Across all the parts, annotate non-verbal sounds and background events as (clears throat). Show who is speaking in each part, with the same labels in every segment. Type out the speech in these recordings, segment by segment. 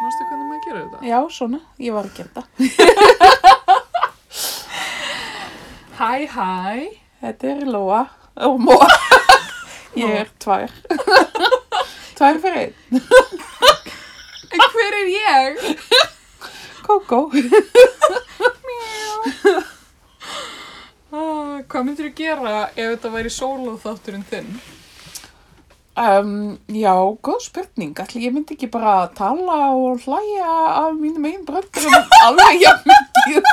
Speaker 1: að gera þetta?
Speaker 2: Já, svona, ég var að gera þetta.
Speaker 1: (laughs) Hæ, hæ.
Speaker 2: Þetta er Lóa og
Speaker 1: (laughs)
Speaker 2: Móa. Ég er tvær. (laughs) Tvær fyrir einn.
Speaker 1: En hver er ég?
Speaker 2: Kókó.
Speaker 1: Ah, hvað myndir þú gera ef þetta væri sólóþátturinn þinn?
Speaker 2: Um, já, góð spurning. Ætli ég myndi ekki bara að tala og hlæja af mínum einn bröndurum
Speaker 1: (laughs)
Speaker 2: alveg jafn mikið.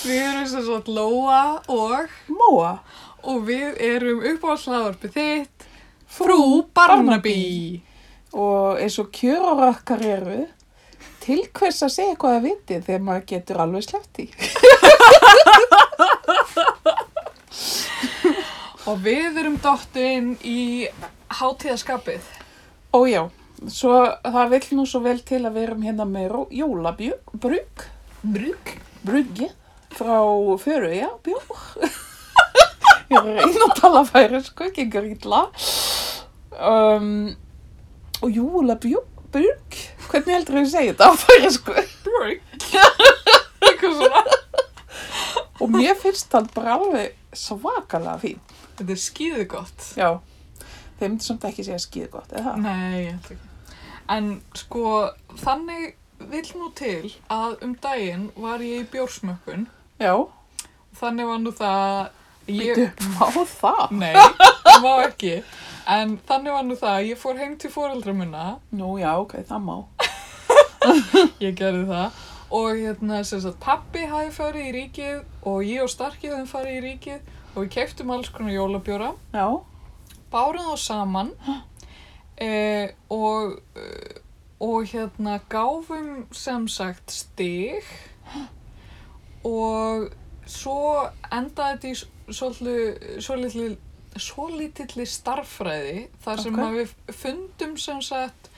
Speaker 1: Við erum sem sagt Lóa og
Speaker 2: Móa.
Speaker 1: og við erum upp á slaðarpið þitt Frú Barnaby.
Speaker 2: Og eins og kjörorökkar eru, til hvers að segja eitthvað að viti þegar maður getur alveg sleppt í.
Speaker 1: Og við erum dottinn í hátíðaskapið.
Speaker 2: Ó já, svo það vill nú svo vel til að við erum hérna með ró- jólabrug,
Speaker 1: Brug.
Speaker 2: bruggi frá Föru, já, bjór. (laughs) Ég er að reyna að tala færi, sko, gengur illa. Um, og jólabrug, hvernig heldur við að segja þetta á færi, sko?
Speaker 1: (laughs) Brug. Eitthvað svona.
Speaker 2: (laughs) Og mér finnst það bara alveg svakalega fín.
Speaker 1: Þetta er skýðu gott.
Speaker 2: Já, þeir myndi samt ekki segja skýð gott, eða það?
Speaker 1: Nei, ég held ekki. En sko, þannig vil nú til að um daginn var ég í bjórsmökkun.
Speaker 2: Já,
Speaker 1: Þannig var nú það að ég...
Speaker 2: býtu, má það?
Speaker 1: Nei, það má ekki. En þannig var nú það að ég fór heim til fóreldra minna.
Speaker 2: Nú, já, ok, það má.
Speaker 1: Ég gerði það. Og hérna, sem sagt, pappi hafi farið í ríkið og ég og Starkið hafum farið í ríkið og við keftum alls konar jólabjóra.
Speaker 2: Já,
Speaker 1: bárum þá saman eh, og, eh, og hérna gáfum sem sagt stig og svo endaði þetta í svolítið svolítilli starffræði þar sem
Speaker 2: Ok.
Speaker 1: að við fundum sem sagt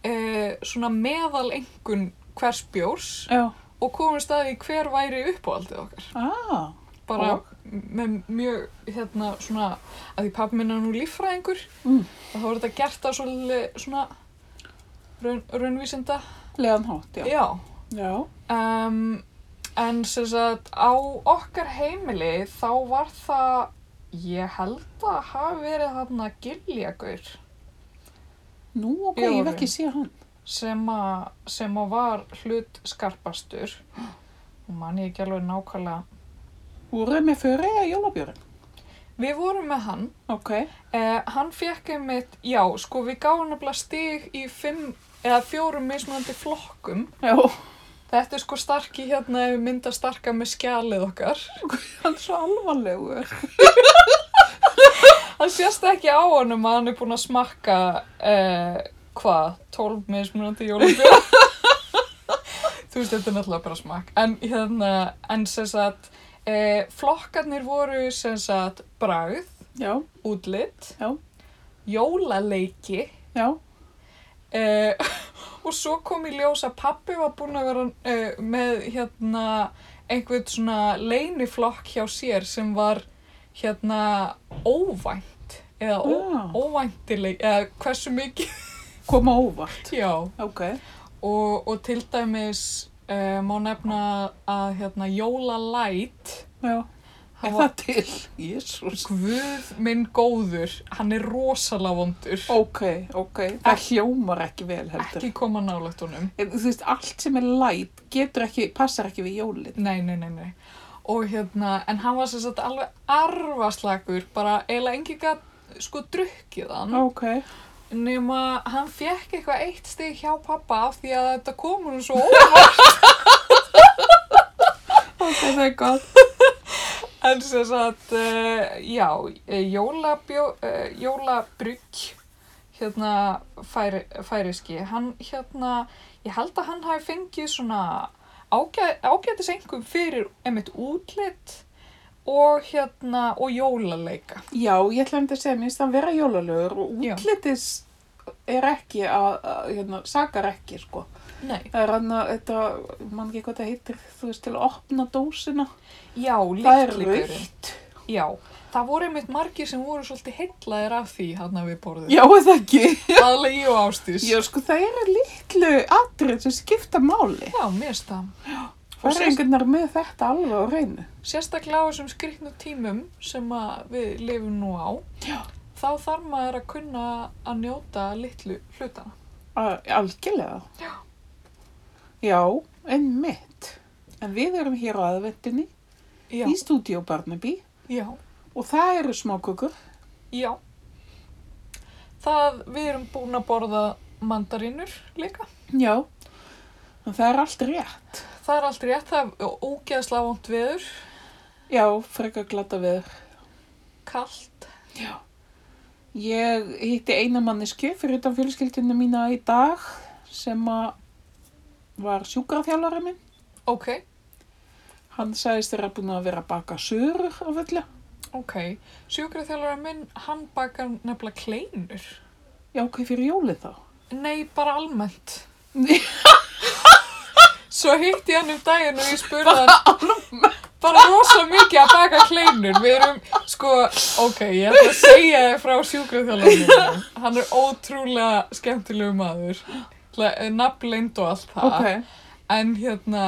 Speaker 1: eh, svona meðal engun hvers bjórs
Speaker 2: já,
Speaker 1: og komum staði hver væri uppáhaldið okkar
Speaker 2: aaa.
Speaker 1: bara
Speaker 2: Og?
Speaker 1: með mjög hérna svona að því pappi minn er nú líffræðingur
Speaker 2: Mm.
Speaker 1: og þá er þetta gert að svolítið svona raun, raunvísinda
Speaker 2: Leðan hátt, já.
Speaker 1: já
Speaker 2: Já,
Speaker 1: um, en sem sagt á okkar heimili þá var það ég held að hafi verið þarna giljagur
Speaker 2: nú ok,
Speaker 1: Já,
Speaker 2: ég
Speaker 1: ok.
Speaker 2: hef ekki séð hann.
Speaker 1: sem að, sem að var hlut skarpastur og man ég ekki alveg nákvæmlega
Speaker 2: Voruð þið með fyrir eða jólabjörn?
Speaker 1: við vorum með hann
Speaker 2: Ok,
Speaker 1: Eh, hann fekk einmitt, já, sko við gáum nefnilega stig í fimm eða fjórum mismunandi flokkum.
Speaker 2: já, (laughs)
Speaker 1: Þetta er sko starki hérna ef við mynda starka með skjalið okkar.
Speaker 2: hann er svo alvarlegur.
Speaker 1: Það sést ekki á honum að hann er búinn að smakka, eh, hvað, 12 mismunandi jólabjóð. Þú veist, þetta er náttúrulega bara smakk. En hérna, en sem sagt, eh, flokkarnir voru sem sagt bragð,
Speaker 2: Já,
Speaker 1: útlitt,
Speaker 2: Já.
Speaker 1: jólaleiki,
Speaker 2: já,
Speaker 1: Eh, (laughs) og svo kom í ljós að pappi var búinn að vera eh, með hérna einhvern svona leyniflokk hjá sér sem var hérna óvænt eða ó,
Speaker 2: Já.
Speaker 1: óvæntileg eða hversu mikið
Speaker 2: koma óvart.
Speaker 1: já
Speaker 2: Ok,
Speaker 1: og, og til dæmis eh, má nefna að hérna jólalæt
Speaker 2: já,
Speaker 1: hann
Speaker 2: er
Speaker 1: var-
Speaker 2: það til? Jésús.
Speaker 1: Guð minn góður hann er rosalega vondur
Speaker 2: Ok, ok, það hljómar ekki vel heldur.
Speaker 1: ekki koma nálægt honum
Speaker 2: En Þú veist, allt sem er læt getur ekki, passar ekki við jólinn.
Speaker 1: Nei, nei, nei, nei. Og hérna, en hann var sem sagt alveg arfaslakur, bara eiginlega engi gæt sko drukkið hann.
Speaker 2: Ok,
Speaker 1: Nema hann fekk eitthvað eitt stig hjá pappa af því að þetta komur hann svo óvart.
Speaker 2: (laughs) ok, það er gott.
Speaker 1: en sem sagt, uh, já, eh, jólabjó, uh, jólabrygg, hérna færi, færiski, hann hérna, ég held að hann hafi fengið svona ágæ, ágætis engum fyrir einmitt útlit og hérna, og jólaleika.
Speaker 2: Já, ég ætla um þetta að segja, minnst hann vera jólalegur og
Speaker 1: Já.
Speaker 2: útlitis er ekki að, að hérna, sakar ekki, sko.
Speaker 1: Nei.
Speaker 2: Það er hann að, þetta, mann ekki hvað það heitir, þú veist, til að opna dósina.
Speaker 1: Já,
Speaker 2: Það er
Speaker 1: líklegurinn.
Speaker 2: rautt
Speaker 1: Já, það voru einmitt margir sem voru svolítið hellaðir af því hann við borðið.
Speaker 2: Já, eða ekki.
Speaker 1: Aðlega ég og Ástís.
Speaker 2: Já, sko, það eru litlu atrið sem skipta máli.
Speaker 1: Já, mér finnst það. Og
Speaker 2: Það er
Speaker 1: sérst,
Speaker 2: einhvernar með þetta alveg á reynu.
Speaker 1: sérstaklega á þessum skriknu tímum sem að við lifum nú á,
Speaker 2: Já.
Speaker 1: þá þarf maður að kunna að njóta litlu hlutana.
Speaker 2: A- Algjörlega.
Speaker 1: Já.
Speaker 2: Já, einmitt. En við erum hér á aðvendinni
Speaker 1: Já,
Speaker 2: í stúdíó Barnaby
Speaker 1: já,
Speaker 2: og það eru smákökur.
Speaker 1: já. Það við erum búin að borða mandarínur líka.
Speaker 2: Já. En það er allt rétt.
Speaker 1: Það er allt rétt, það er ógeðslega vond veður,
Speaker 2: Já, frekar glata við.
Speaker 1: kallt.
Speaker 2: Ég hitti eina mannesku fyrir utan fjölskyldinu mína í dag sem að var sjúkraþjálfara minn.
Speaker 1: Ok,
Speaker 2: Hann sagðist þeirra búin að vera að baka sörur á fullu.
Speaker 1: ok. Sjúkraþjálfara minn, hann bakar nefnilega kleinur.
Speaker 2: Já, hvað fyrir jólið
Speaker 1: (laughs)
Speaker 2: þá?
Speaker 1: Nei, bara almennt. Svo hitti ég hann um daginn og ég spurði hann bara rosa mikið að baka kleinur við erum, sko, ok ég ætla að segja þér frá sjúkraþjálfanum hann er ótrúlega skemmtilegu maður nafnleind og allt það
Speaker 2: ok,
Speaker 1: en hérna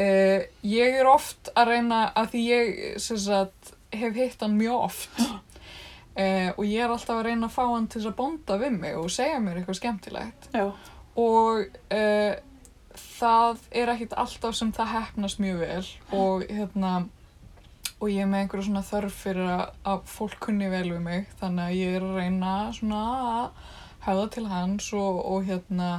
Speaker 1: eh, ég er oft að reyna að því ég sem sagt, hef hitt hann mjög oft eh, og ég er alltaf að reyna að fá hann til þess að bonda við mig og segja mér eitthvað skemmtilegt
Speaker 2: já,
Speaker 1: og uh, það er ekkit alltaf sem það hefnast mjög vel og hérna og ég er með einhverja svona þörf fyrir að, að fólk kunni vel við mig þannig að ég er að reyna svona að höfða til hans og, og hérna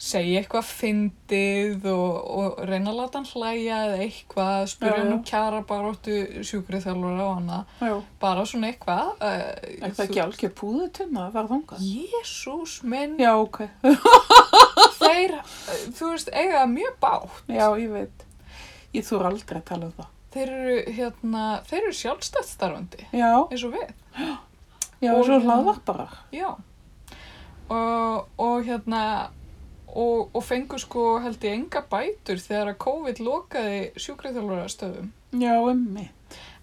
Speaker 1: segja eitthvað fyndið og, og reyna að láta hann hlæja eða eitthvað,
Speaker 2: Já,
Speaker 1: spyrja hann
Speaker 2: já.
Speaker 1: um kjara baróttu sjúkrið þjálfur á hana
Speaker 2: já.
Speaker 1: bara svona eitthvað uh,
Speaker 2: Er það ekki algjör púðutunna að fara þangað?
Speaker 1: Jésús minn
Speaker 2: Já, ok,
Speaker 1: þeir, eh, þú veist, eiga það mjög bátt.
Speaker 2: já, ég veit. Ég þúr aldrei að tala um það.
Speaker 1: Þeir eru, hérna, þeir eru sjálfstætt starfandi,
Speaker 2: Já,
Speaker 1: eins og við,
Speaker 2: já,
Speaker 1: Og-
Speaker 2: og svo hlaðvarparar.
Speaker 1: já. Og, og hérna, og, og fengu sko held ég enga bætur þegar að COVID lokaði sjúkriðþjálfarastöðum.
Speaker 2: Já, emmi.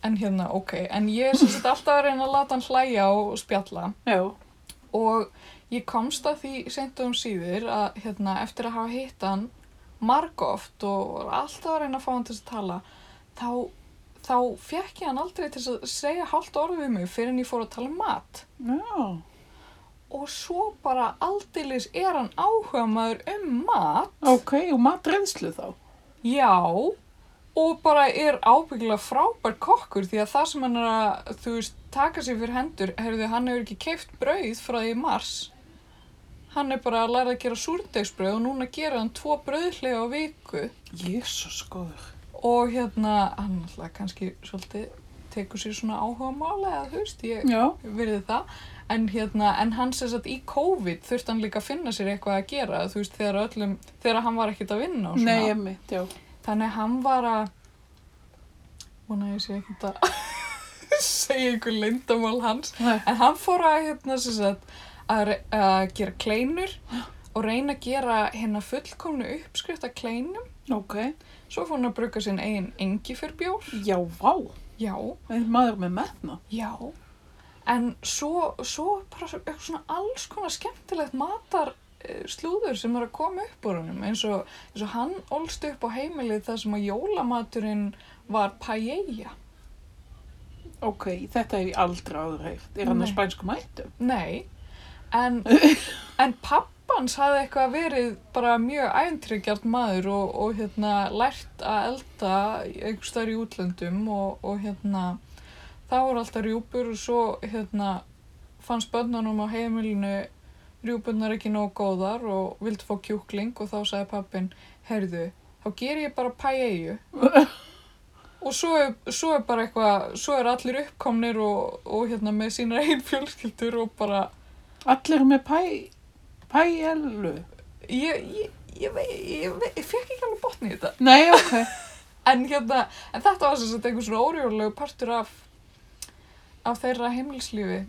Speaker 1: En hérna, ok, en ég er sem sagt alltaf að reyna að láta hann hlæja og spjalla.
Speaker 2: Já,
Speaker 1: og ég komst að því seint um síður að hérna, eftir að hafa hitt hann margóft og var alltaf að reyna að fá hann til þess að tala þá, þá fekk ég hann aldrei til þess að segja hálft orð við mig fyrir en ég fór að tala um mat
Speaker 2: já,
Speaker 1: og svo bara aldeilis er hann áhuga maður um mat
Speaker 2: ok, og matreinslu þá.
Speaker 1: já og bara er ábyggilega frábær kokkur því að það sem hann er að þú veist, taka sér fyrir hendur heyrðu, hann hefur ekki keift brauð frá því í mars hann er bara að læra að gera súrdegsbrauð og núna gera hann tvo brauðlega á viku
Speaker 2: Jésús góður.
Speaker 1: og hérna, hann alltaf kannski svolítið tekur sér svona áhuga mála eða þú veist, ég
Speaker 2: Já,
Speaker 1: verið það en, hérna, en hann sem sagt í COVID þurfti hann líka að finna sér eitthvað að gera þú veist, þegar öllum, þegar hann var ekkert að vinna og svona.
Speaker 2: nei, emmi, já.
Speaker 1: Þannig að hann var að vona að ég sé ekkert að (laughs) segja einhver lindamál hans
Speaker 2: Nei,
Speaker 1: en hann fór að hérna sem sagt að, re- að gera kleinur og reyna að gera hérna fullkomnu uppskrift að kleinum
Speaker 2: ok,
Speaker 1: svo fór hann að bruka sinn eigin engi fyrir bjór
Speaker 2: já, vá.
Speaker 1: já,
Speaker 2: En maður með metna.
Speaker 1: já en svo, svo bara svo- eitthvað svona alls konar skemmtilegt matar eh, slúður sem er að koma upp úr honum eins og, eins og hann ólst upp á heimilið þar sem að jólamaturinn var paella
Speaker 2: Ok, þetta hef ég aldrei áður heyrt. Er hann á
Speaker 1: Nei.
Speaker 2: spænsku mættum?
Speaker 1: Nei, en, en pappans hafði eitthvað verið bara mjög æntryggjarn maður og, og hérna, lært að elda einhvers staðar í útlöndum og, og hérna, það voru alltaf rjúpur og svo hérna, fannst bönnunum á heimilinu rjúpunar ekki nóg góðar og vildi fá kjúkling og þá sagði pappin, heyrðu, þá ger ég bara paellu. Og svo er, svo er bara eitthvað, svo er allir uppkomnir og, og hérna með sína einn fjölskyldur og bara,
Speaker 2: (laughs) Allir með pæ, pælu.
Speaker 1: ég, ég, ég, vei, ég, vei, ég fekk ekki alveg botni í þetta.
Speaker 2: Nei, ok. (laughs)
Speaker 1: En, hérna, en þetta var sem sagt einhver svona órjólegu partur af, af þeirra heimilislífi.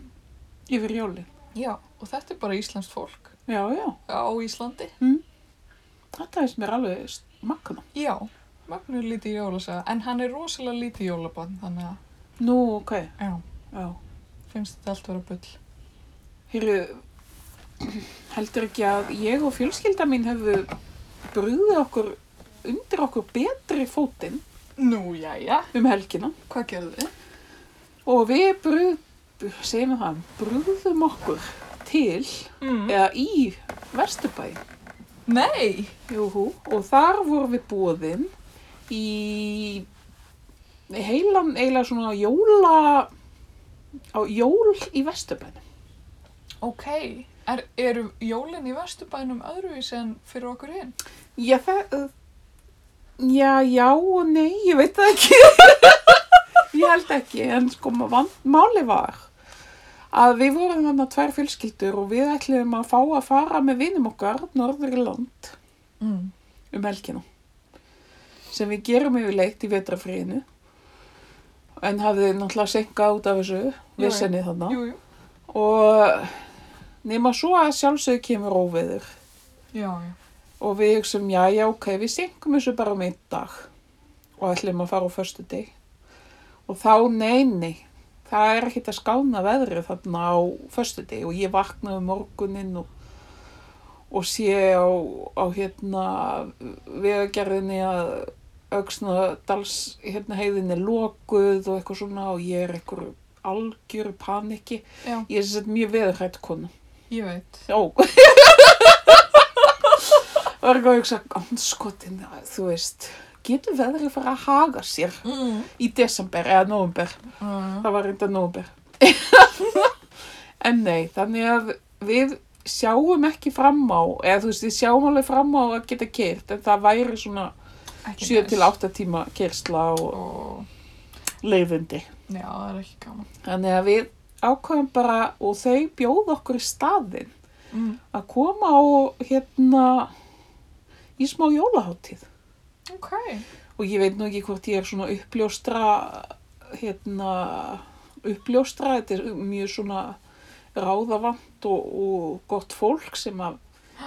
Speaker 2: Yfir jólin.
Speaker 1: Já, og þetta er bara íslenskt fólk
Speaker 2: Já, já.
Speaker 1: á Íslandi.
Speaker 2: Þetta hefst mér alveg s- magna.
Speaker 1: Já, Magnur lítið jólasaga, en hann er rosalega lítið jólabann, þannig að
Speaker 2: Nú, ok,
Speaker 1: Já,
Speaker 2: já.
Speaker 1: finnst þetta allt vera bull.
Speaker 2: Heyrðu, heldur ekki að ég og fjölskylda mín hefðu brúðið okkur undir okkur betri fótinn
Speaker 1: Nú, jæja.
Speaker 2: um helgina
Speaker 1: Hvað gerðu þið?
Speaker 2: og við brúð, segjum við það, brúðum okkur til
Speaker 1: Mm.
Speaker 2: eða í Vesturbæ
Speaker 1: Nei!
Speaker 2: Júhú. og þar vorum við búðin í heilan eiginlega svona jóla á jól í Vesturbæ
Speaker 1: Ok, er, eru jólin í Vesturbænum öðruvísi en fyrir okkur hinn?
Speaker 2: Já, það... uh, Já, já og nei, ég veit það (laughs) ekki. ég held ekki, en sko, van, máli var að við vorum hann að tvær fjölskyldur og við ætliðum að fá að fara með vinum okkar norður í land
Speaker 1: Mm.
Speaker 2: um helgina sem við gerum yfirleitt í vetrafriðinu en hafði náttúrulega senkað út af þessu
Speaker 1: jú.
Speaker 2: vissinni þarna
Speaker 1: Jú, jú.
Speaker 2: og nema svo að sjálfsögðu kemur óveður
Speaker 1: Já, já.
Speaker 2: Og við hugsaum, já, já, ok, við syngum þessu bara um einn dag og ætlum að fara á förstu deg. Og þá, nei, nei, það er ekkert að skána veðrið þarna á förstu deg og ég vaknaði um morguninn og, og sé á, á hérna, vegagerðinni að auksna dals, hérna, heiðinni er lokuð og eitthvað svona og ég er eitthvað algjör paniki.
Speaker 1: Já,
Speaker 2: Ég er sem sagt mjög veðurhætt konu.
Speaker 1: ég veit.
Speaker 2: Já. Var ekki að hugsa, anskotin, þú veist, getur veðrið fara að haga sér
Speaker 1: Mm.
Speaker 2: í desember eða nóvember?
Speaker 1: Uh,
Speaker 2: Það var reynda nóvember. en nei, þannig að við sjáum ekki fram á, eða þú veist, við sjáum alveg fram á að geta kert, en það væri svona 7 til 8 tíma kersla og
Speaker 1: Og,
Speaker 2: leiðindi.
Speaker 1: já, það er ekki gaman.
Speaker 2: Þannig að við ákveðum bara, og þau bjóð okkur í staðinn.
Speaker 1: Mm.
Speaker 2: að koma á hérna í smá jólaháttíð
Speaker 1: Ok.
Speaker 2: og ég veit nú ekki hvort ég er svona uppljóstra hérna uppljóstra, þetta er mjög svona ráðavant og, og gott fólk sem að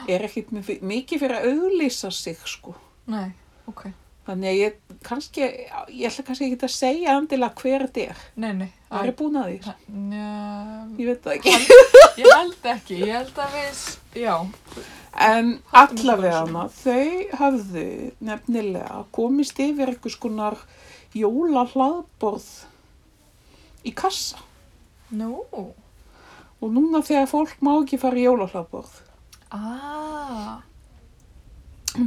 Speaker 2: er ekkit mi- mikið fyrir að auðlýsa sig sko.
Speaker 1: Nei, ok.
Speaker 2: Þannig að ég kannski, ég ætla kannski ekki að segja endilega hver þetta er.
Speaker 1: Nei, nei.
Speaker 2: Það er búin að því.
Speaker 1: Njá,
Speaker 2: Ég veit það ekki.
Speaker 1: ég held ekki, ég held að við, já,
Speaker 2: En
Speaker 1: Haldum okkur
Speaker 2: allavega þau hafðu nefnilega komist yfir einhvers konar jóla hlaðborð í kassa.
Speaker 1: nú,
Speaker 2: Og núna þegar fólk má ekki fara í jóla hlaðborð.
Speaker 1: aaa,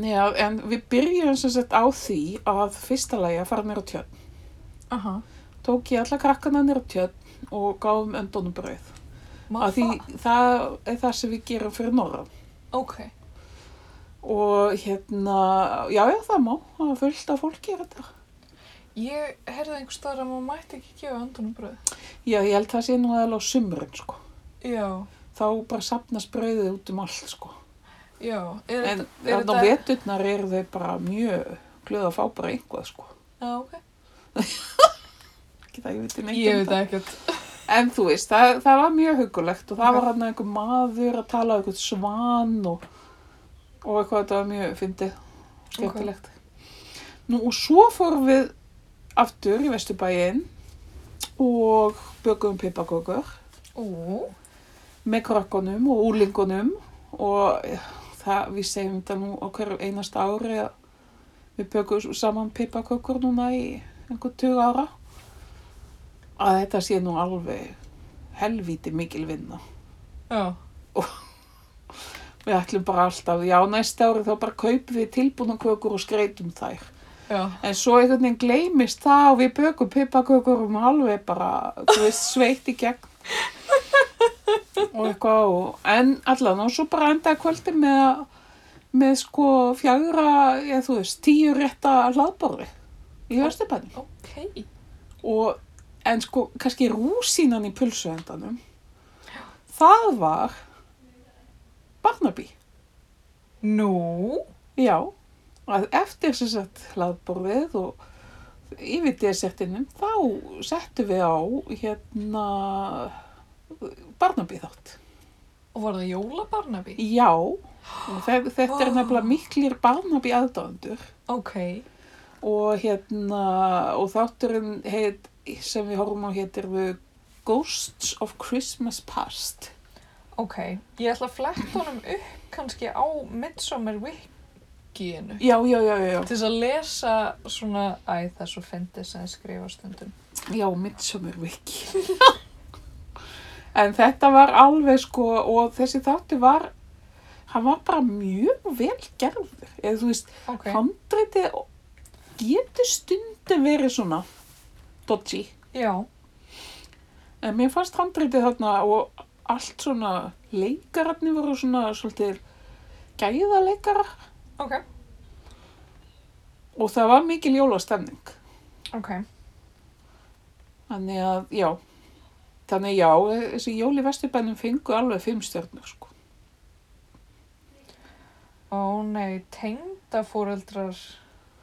Speaker 2: Já, en við byrjum sem sett á því að fyrsta lagi að fara nýra tjörn.
Speaker 1: aha,
Speaker 2: Tók ég alla krakkana nýra tjörn og gáðum öndunum brauð.
Speaker 1: má
Speaker 2: Af því það er það sem við gerum fyrir norðan.
Speaker 1: Ok,
Speaker 2: Og hérna, já, já, það má. Það er fullt af fólki er þetta.
Speaker 1: ég heyrði einhvers staðar að maður mætti ekki gefa öndunum bröð.
Speaker 2: Já, ég held það sé nú aðalega á sumrun, sko.
Speaker 1: Já,
Speaker 2: þá bara sapnast brauðið út um allt sko.
Speaker 1: já, er
Speaker 2: En
Speaker 1: þetta, er
Speaker 2: þannig á veturnar eru þau bara mjög glöð að fá bara einhvað sko.
Speaker 1: Já, ok.
Speaker 2: Ekki það, ég veit neitt
Speaker 1: Ég
Speaker 2: um
Speaker 1: veit ekkert.
Speaker 2: En þú veist, það, það var mjög hugulegt og það
Speaker 1: Ok.
Speaker 2: var hann einhver maður að tala um einhvern svan og, og eitthvað þetta var mjög fyndið, skemmtilegt. Nú og svo fórum við aftur í Vesturbæinn og bökum pipakökur
Speaker 1: Ú,
Speaker 2: með krakkonum og úlingunum og eh, það, við segjum þetta nú á hverju einasta ári að við bökum saman pipakökur núna í einhver tug ára að þetta sé nú alveg helvíti mikil vinna.
Speaker 1: já,
Speaker 2: Við ætlum bara alltaf, já næsta ári þá bara kaupum við tilbúna kökur og skreitum þær.
Speaker 1: já,
Speaker 2: En svo einhvern veginn gleymist það og við bökum pipakökur um alveg bara, þú veist, sveitt í gegn. og eitthvað og, en allan og svo bara endaði kvöldi með, með sko fjagra, ég þú veist, tíu rétta hlaðborði í Vesturbænum.
Speaker 1: ok.
Speaker 2: Og, en sko, kannski rúsínan í pulsuendanum, það var Barnaby.
Speaker 1: Nú,
Speaker 2: Já, að eftir sem sagt hlaðborðið og yfir desertinum þá settum við á hérna Barnaby þátt.
Speaker 1: og var það jólabarnaby?
Speaker 2: Já, og þe þetta er
Speaker 1: Vá.
Speaker 2: nefnilega miklir Barnaby aðdándur
Speaker 1: Ok,
Speaker 2: og hérna og þátturinn heit sem við horfum á hétir við Ghosts of Christmas Past.
Speaker 1: Ok, ég ætla að fletta honum upp kannski á Midsommar Wikinu
Speaker 2: Já, já, já, já, já.
Speaker 1: til þess að lesa svona, æ, það er svo fyndið sem þið skrifa stundum.
Speaker 2: Já, Midsommar Wiki. en þetta var alveg sko og þessi þáttu var, hann var bara mjög vel gerður. Eða þú veist,
Speaker 1: Ok,
Speaker 2: handreitið getur stundum verið svona dodgy.
Speaker 1: já,
Speaker 2: En mér fannst handreitið þarna og allt svona leikararnir voru svona svolítið gæðaleikara
Speaker 1: ok,
Speaker 2: og það var mikil jólastemning.
Speaker 1: ok,
Speaker 2: Þannig að, já, þannig að já, þessi jóli vesturbænum fengu alveg fimm stjörnur, sko.
Speaker 1: ó nei, tengdafóreldrar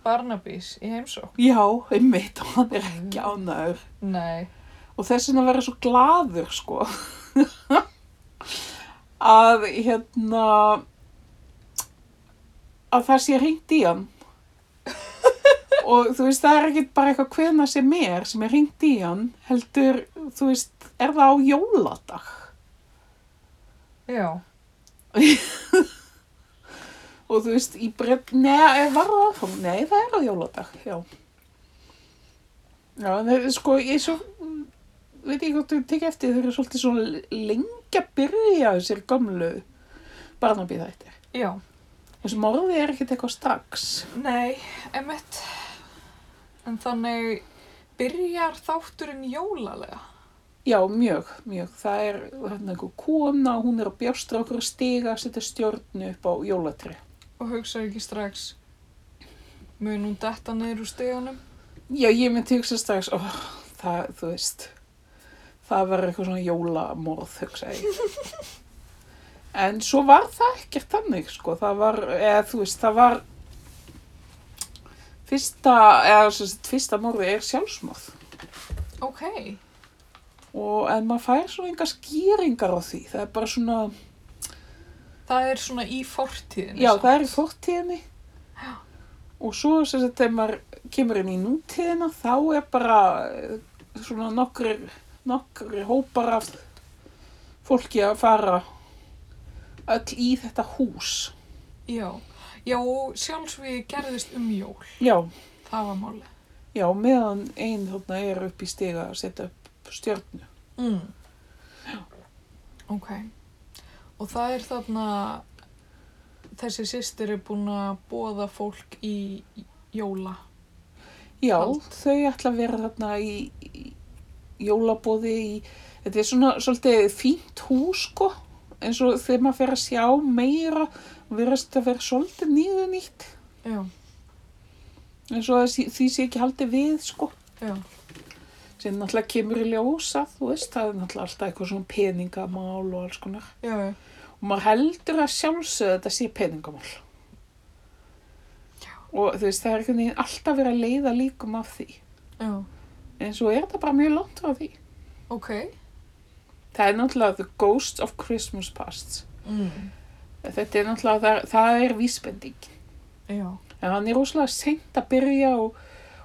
Speaker 1: Barnabys í heimsók.
Speaker 2: Já, einmitt, og hann er ekki ánægur.
Speaker 1: Nei,
Speaker 2: Og þess vegna verður svo gladur, sko. (laughs) að, hérna, að það sé hringt í hann. Og þú veist, það er ekkit bara eitthvað hvena sem er, sem er hringt í hann, heldur, þú veist, er það á jóladag.
Speaker 1: já,
Speaker 2: Og þú veist, í brett, neða, var það áfram? Nei, það er á jóladag, já. Já, en þeir, sko, ég svo, veit ég hvort þú tekja eftir, þeir eru svolítið svona lengi að byrja á þessir gömlu barnabíða eittir.
Speaker 1: já,
Speaker 2: Þessu morði er ekkert eitthvað strax.
Speaker 1: nei, emitt. En þannig byrjar þátturinn jólalega.
Speaker 2: Já, mjög, mjög. Það er hérna einhver kona, hún er að bjóstra okkur að stiga, setja stjórnu upp á jólatri.
Speaker 1: og hugsa ekki strax mun hún detta niður úr stegunum
Speaker 2: Já, ég myndi hugsa strax, ó, það, þú veist, það var eitthvað svona jólamorð, hugsa ég. En svo var það ekkert þannig, sko, það var, eða þú veist, það var, fyrsta, eða sem sagt, fyrsta morði er sjálfsmorð.
Speaker 1: ok,
Speaker 2: Og, en maður fær svona enga skýringar á því, það er bara svona,
Speaker 1: það er svona í fortíðinni
Speaker 2: já,
Speaker 1: samt.
Speaker 2: það er í fortíðinni. Og svo, sem sagt, þegar maður kemur inn í nútíðina, þá er bara eh, svona nokkrir, nokkrir hópar af fólki að fara öll í þetta hús.
Speaker 1: já, já og sjálfsvíði gerðist um jól
Speaker 2: Já,
Speaker 1: það var máli
Speaker 2: já, meðan einn þarna er upp í stiga að setja upp stjörnu.
Speaker 1: mm. ok og það er þarna þessi sýstir er búin að bóða fólk í jóla
Speaker 2: Já,
Speaker 1: Hald.
Speaker 2: þau ætla að vera þarna í, í jólabóði í, þetta er svona svolítið fínt hús sko, eins og þegar maður fer að sjá meira, verðast að vera svolítið nýðu nýtt.
Speaker 1: já,
Speaker 2: eins og að því sé ekki haldið við sko
Speaker 1: já,
Speaker 2: sem náttúrulega kemur í ljósa þú veist það er náttúrulega alltaf eitthvað svona peningamál og alls konar
Speaker 1: já, já.
Speaker 2: og maður heldur að sjálfsögðu að þetta sé peningamál og þú veist það er einhvern veginn alltaf verið að leiða líkum af því
Speaker 1: já.
Speaker 2: en svo er þetta bara mjög langt frá því
Speaker 1: ok
Speaker 2: það er náttúrulega The Ghost of Christmas Past
Speaker 1: mm.
Speaker 2: þetta er náttúrulega það, það er vísbending
Speaker 1: já,
Speaker 2: en hann er rosalega seint að byrja og,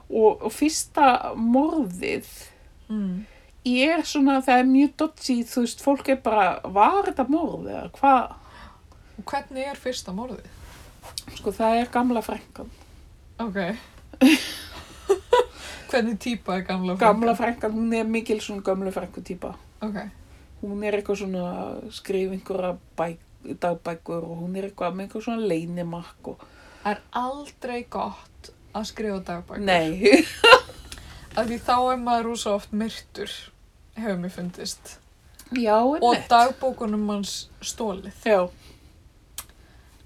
Speaker 2: og, og fyrsta morðið
Speaker 1: mm.
Speaker 2: ég er svona, það er mjög dodgy, þú veist, fólk er bara, var þetta morð eða hvað,
Speaker 1: og hvernig er fyrsta morðið?
Speaker 2: sko það er gamla frænkan.
Speaker 1: ok (laughs) hvernig típa er gamla frænkan?
Speaker 2: Gamla frænkan, hún er mikil svona gamla frænku típa.
Speaker 1: Ok,
Speaker 2: Hún er eitthvað svona, skrif einhverja bæk, dagbækur og hún er eitthvað með einhver svona leynimakk og,
Speaker 1: það er aldrei gott að skrifa dagbækur.
Speaker 2: nei, (laughs)
Speaker 1: Af því þá er maður úr oft myrtur, hefur mér fundist.
Speaker 2: já,
Speaker 1: Og
Speaker 2: einmitt.
Speaker 1: dagbókunum hans stólið.
Speaker 2: Já,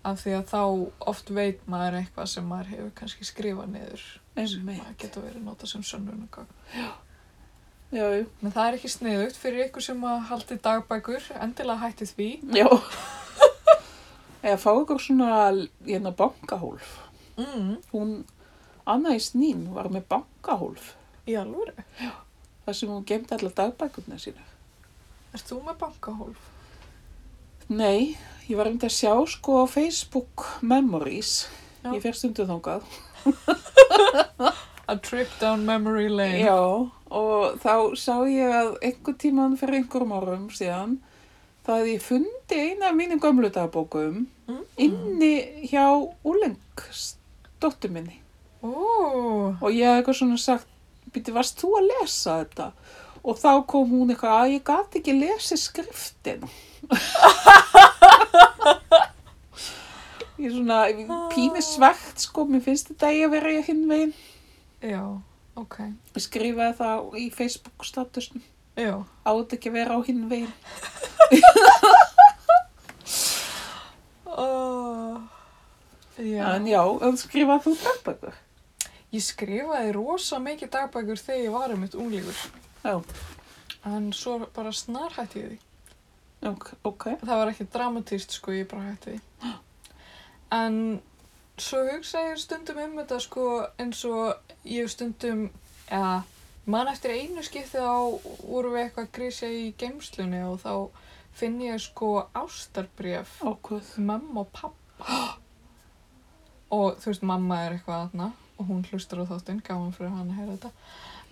Speaker 1: Af því að þá oft veit maður eitthvað sem maður hefur kannski skrifað niður. sem Maður
Speaker 2: einmitt,
Speaker 1: getur verið notað sem sönnunagögn.
Speaker 2: já, já,
Speaker 1: Men það er ekki sniðugt fyrir ykkur sem að haldi dagbækur, endilega hætti því.
Speaker 2: já. Eða fá ykkur svona, hérna, bankahólf.
Speaker 1: Mm,
Speaker 2: Hún, Anna í snín var með bankahólf,
Speaker 1: í alvöru.
Speaker 2: þar sem hún gemdi allar dagbækurna sína.
Speaker 1: Erst þú með bankahólf?
Speaker 2: Nei, ég var einmitt að sjá sko á Facebook Memories.
Speaker 1: Já.
Speaker 2: Ég fer stundu þangað.
Speaker 1: A trip down memory lane.
Speaker 2: Já, og þá sá ég að einhver tíman fyrir einhverjum árum síðan þá hefði ég fundi eina af mínum gömlu dagbókum
Speaker 1: Mm.
Speaker 2: inni hjá Úlengs dóttur minni
Speaker 1: Ó,
Speaker 2: og ég hef eitthvað svona sagt, býtti, varst þú að lesa þetta? Og þá kom hún eitthvað að ég gat ekki lesið skriftin. ég er svona pínu svegt, sko, mér finnst þetta eigi að vera ég hinn veginn.
Speaker 1: já, ok.
Speaker 2: Ég skrifaði það í Facebook statusnum,
Speaker 1: Já,
Speaker 2: átt ekki að vera á hinn veginn.
Speaker 1: oh, já.
Speaker 2: En já, en skrifaði þú dagbækur.
Speaker 1: Ég skrifaði rosa mikið dagbækur þegar ég var um mitt unglingur.
Speaker 2: Já,
Speaker 1: En svo bara snarhætti ég því.
Speaker 2: ok, ok.
Speaker 1: Það var ekki dramatíst sko, ég bara hætti því. En svo hugsa ég stundum um þetta sko eins og ég hef stundum, eða mann eftir einu skipti þá vorum við eitthvað að grísja í geimslunni og þá finn ég sko ástarbréf
Speaker 2: Ákvöð.
Speaker 1: mamma og pappa (gasps) og þú veist mamma er eitthvað aðna og hún hlustar á þáttinn, gaman fyrir hann að heyra þetta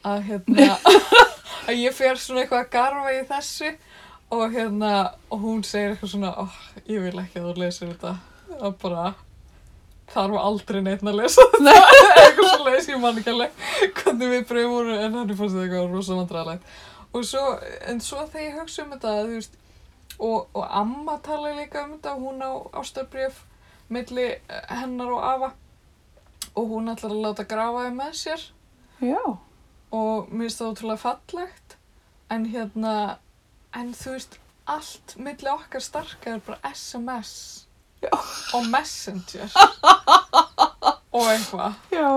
Speaker 1: að hérna að ég fer svona eitthvað að garfa í þessu og hérna og hún segir eitthvað svona oh, ég vil ekki að þú lesir þetta það bara þarf aldrei neitt að lesa þetta eitthvað svo les ég man ekki alveg hvernig við breyfum voru en hann fannst þetta eitthvað rosa vandræðalegt og svo, en svo þegar ég hugsa um þetta þú veist, og, og amma tala líka um þetta, hún á ástarbréf milli eh, hennar og afa og hún ætlar að láta grafa þau með sér
Speaker 2: Já,
Speaker 1: og mér finnst það ótrúlega fallegt en hérna en þú veist, allt milli okkar starka er bara SMS
Speaker 2: Já.
Speaker 1: og
Speaker 2: (laughs)
Speaker 1: Messenger og eitthvað
Speaker 2: já.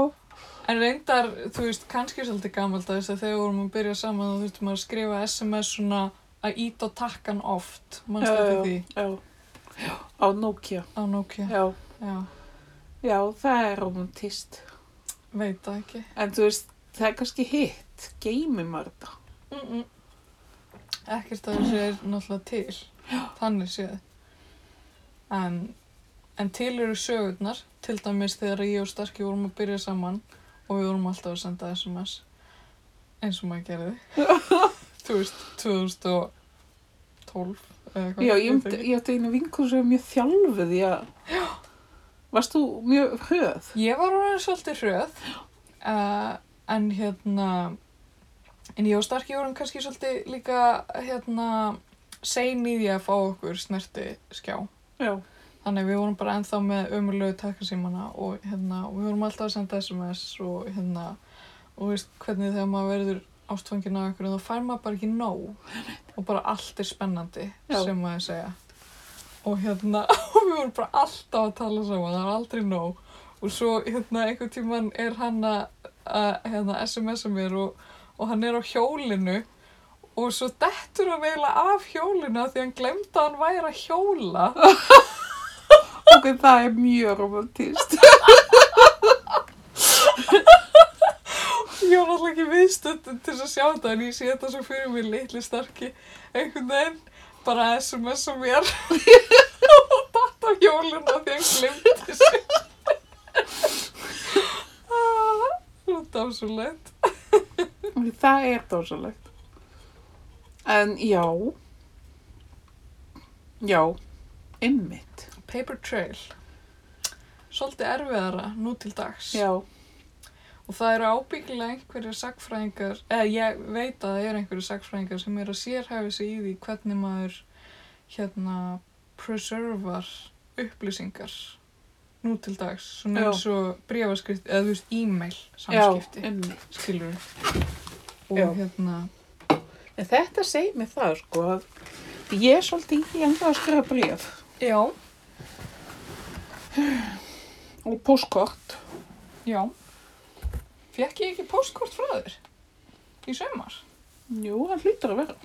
Speaker 1: En reyndar, þú veist, kannski svolítið gamaldags að þegar við vorum að byrja saman þá þurftum maður að skrifa SMS svona að ít og takkan oft, mannst
Speaker 2: Já,
Speaker 1: þetta
Speaker 2: já,
Speaker 1: því
Speaker 2: Já, Já, á Nokia.
Speaker 1: á Nokia. Já.
Speaker 2: Já, já, það er romantist.
Speaker 1: veit það ekki.
Speaker 2: En þú veist, það er kannski hitt, geymir maður þetta.
Speaker 1: Mm -mm. Ekkert að þessu er náttúrulega til, þannig séð. En, en til eru sögurnar, til dæmis þegar ég og Starki vorum að byrja saman og við vorum alltaf að senda SMS, eins og maður gerði.
Speaker 2: (laughs)
Speaker 1: þú veist, 2012 eða eitthvað.
Speaker 2: Já, ég,
Speaker 1: veit
Speaker 2: myndi,
Speaker 1: ekki.
Speaker 2: ég átti einu vinkur sem er mjög þjálfuð í að... Já. Varst þú mjög hröð?
Speaker 1: Ég var orðin svolítið hröð uh, en hérna en ég og Starki vorum kannski svolítið líka hérna sein í því að fá okkur snerti skjá.
Speaker 2: Já.
Speaker 1: Þannig við vorum bara ennþá með ömurlegu takkasímana og hérna og við vorum alltaf að senda SMS og hérna og þú veist hvernig þegar maður verður ástfangin af einhverju þá fær maður bara ekki nóg og bara allt er spennandi
Speaker 2: Já.
Speaker 1: sem maður segja og hérna (laughs) og við vorum bara alltaf að tala saman það var aldrei nóg og svo hérna einhvern tíman er hann að að, hérna, SMS-a mér og, og hann er á hjólinu og svo dettur hann eiginlega af hjólinu af því hann glemdi að hann væri að hjóla
Speaker 2: Ok, það er mjög (laughs) romantist.
Speaker 1: Ég var náttúrulega ekki viðstönd til þess að sjá þetta en ég sé þetta svo fyrir mér litli starki einhvern veginn bara SMS-a mér (laughs) og datt á hjóluna því hann glimti sig. Ah, Þetta var svo leitt.
Speaker 2: Ok, það er dásalegt. En já. Já. Einmitt.
Speaker 1: Paper Trail. Svolítið erfiðara nú til dags.
Speaker 2: Já.
Speaker 1: Og það eru ábyggilega einhverjir sagfræðingar, eða ég veit að það eru einhverjir sagfræðingar sem eru að sérhæfi sig í því hvernig maður hérna preservar upplýsingar nú til dags, svona
Speaker 2: Já.
Speaker 1: eins og brefaskrift, eða þú veist, e-mail
Speaker 2: Já,
Speaker 1: samskipti,
Speaker 2: einmitt.
Speaker 1: skilur og
Speaker 2: Já.
Speaker 1: hérna,
Speaker 2: En þetta segir mér það, sko, að ég er svolítið í enda að skrifa bréf
Speaker 1: já,
Speaker 2: og postkort.
Speaker 1: já fekk ég ekki postkort frá þér í sömar?
Speaker 2: Jú, það hlýtur að vera.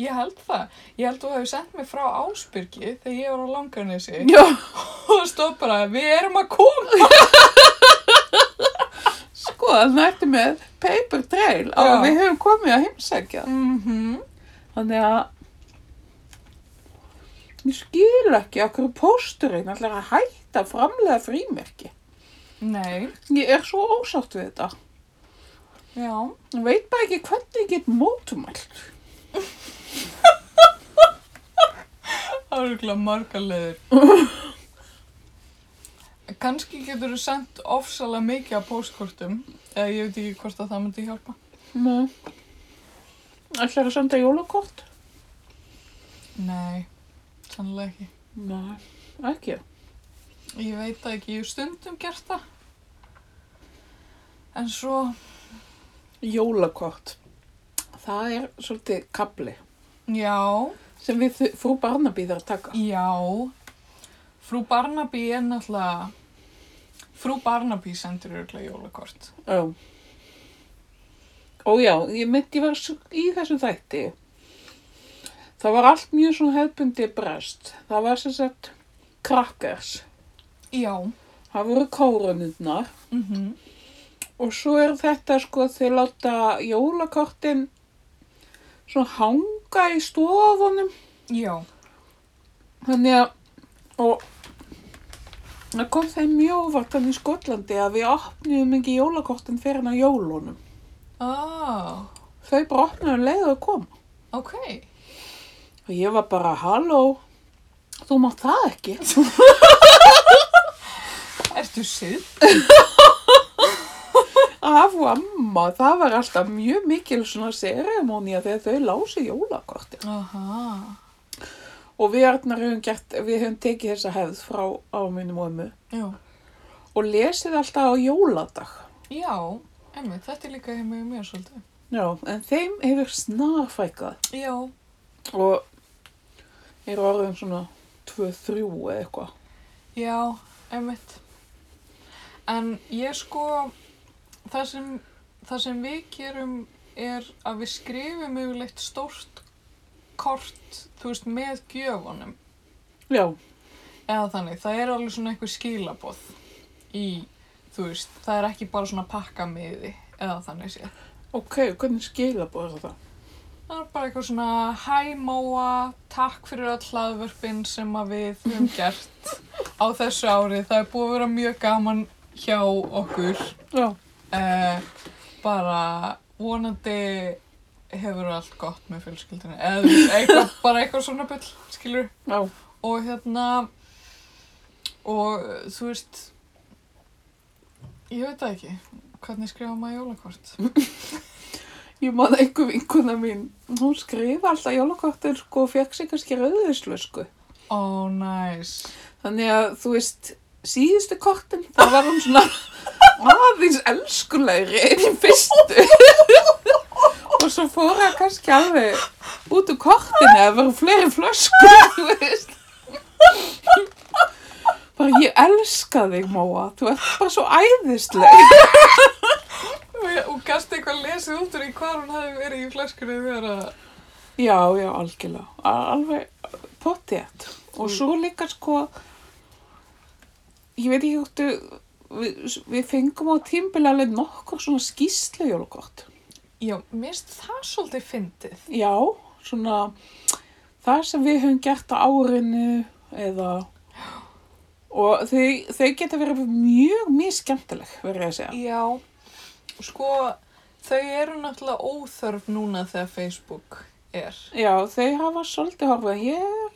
Speaker 1: Ég held það, ég held þú hefur sendt mig frá Ásbyrgi þegar ég var á Langarnesi
Speaker 2: Já.
Speaker 1: og stóð bara, við erum að koma.
Speaker 2: Sko, þannig ertu með paper trail
Speaker 1: Já.
Speaker 2: og við höfum komið að heimsækja.
Speaker 1: Mm
Speaker 2: Þannig að ég skil ekki okkur pósturinn ætlar að hætta að framlega frímerki.
Speaker 1: Nei,
Speaker 2: Ég er svo ósátt við þetta. Já, ég veit bara ekki hvernig ég get mótumælt.
Speaker 1: Það eru ekki marga leður. Kanski getur þú sendt ofsalega mikið af póstkortum, eða ég veit ekki hvort að það myndi hjálpa.
Speaker 2: Nei. Ætlar að senda jólakort?
Speaker 1: Nei, sannlega ekki.
Speaker 2: Nei, ekki.
Speaker 1: Ég veit það ekki, ég hef stundum gert það. En svo,
Speaker 2: Jólakort. Það er svolítið kabli
Speaker 1: já,
Speaker 2: sem við þu- frú Barnaby þarf að taka.
Speaker 1: já, frú Barnaby er náttúrulega, frú Barnaby sendur örgulega jólakort.
Speaker 2: Já. Ó já, ég myndi ég var s- í þessum þætti. Það var allt mjög svona hefbundi brest. Það var sem sagt krakkars.
Speaker 1: Já,
Speaker 2: Það voru kórunundnar
Speaker 1: mhm,
Speaker 2: og svo er þetta sko þeir láta jólakortin svona hanga í stofunum.
Speaker 1: já,
Speaker 2: Þannig að, og það kom þeim mjög óvart hann í Skotlandi að við opnum ekki jólakortin fyrir hann á jólunum.
Speaker 1: ah,
Speaker 2: Þau bara opnum leið og þau kom.
Speaker 1: ok,
Speaker 2: Og ég var bara, halló, þú mátt það (laughs) ekki.
Speaker 1: ertu síð?
Speaker 2: Af og amma, það var alltaf mjög mikil svona seremónía þegar þau lási jólakortin.
Speaker 1: Aha,
Speaker 2: Og við Arnar höfum gert, við höfum tekið þessa hefð frá á mínum og ömmu
Speaker 1: já,
Speaker 2: og lesið alltaf á jóladag.
Speaker 1: já, emmi, þetta er líka heima í mér svolítið.
Speaker 2: Já, en þeim hefur snarfækkað.
Speaker 1: Já,
Speaker 2: og eru orðin svona 2-3 eða eitthvað.
Speaker 1: já, emmitt. En ég sko, það sem, það sem við gerum er að við skrifum yfirleitt stórt kort, þú veist, með gjöfunum.
Speaker 2: Já,
Speaker 1: Eða þannig, það er alveg svona eitthvað skilaboð í, þú veist, það er ekki bara svona pakkamiði eða þannig séð.
Speaker 2: ok, hvernig skilabóð er það?
Speaker 1: Það er bara eitthvað svona hæ Móa, takk fyrir all hlaðvörpin sem að við höfum gert á þessu ári. Það er búið að vera mjög gaman hjá okkur.
Speaker 2: Já,
Speaker 1: Eh, bara vonandi hefur allt gott með fjölskyldinu. Eða þú veist, eitthvað, bara eitthvað svona bull, skilur.
Speaker 2: já,
Speaker 1: Og hérna, og eh, þú veist, ég veit það ekki. Hvernig skrifa maður jólakort?
Speaker 2: ég man einhver vinkuna mín, hún skrifa alltaf jólakortin sko og fekk sig kannski rauðislösku.
Speaker 1: Ó, oh, nice.
Speaker 2: Þannig að þú veist, síðustu kortin, það var hún svona aðeins elskulegri enn í fyrstu. og svo fór það kannski alveg út úr kortinu að vera fleiri flöskur, (laughs) þú veist. Bara ég elska þig, Móa, þú ert bara svo æðisleg.
Speaker 1: Og gæst eitthvað lesið út úr í hvað hún hafi verið í flöskunni þegar að...
Speaker 2: Já, já, algjörlega, A- alveg pottið. Og svo líka sko, ég veit ekki hvort þú- við, við fengum á tímbili alveg nokkur svona skýslu jólukort.
Speaker 1: Já, mér finnst það svolítið fyndið.
Speaker 2: Já, svona það sem við höfum gert á árinu eða og þau, þau geta verið mjög mjög skemmtileg, verður ég að segja.
Speaker 1: Já, sko, þau eru náttúrulega óþörf núna þegar Facebook er.
Speaker 2: Já, þau hafa svolítið horfið. Ég er,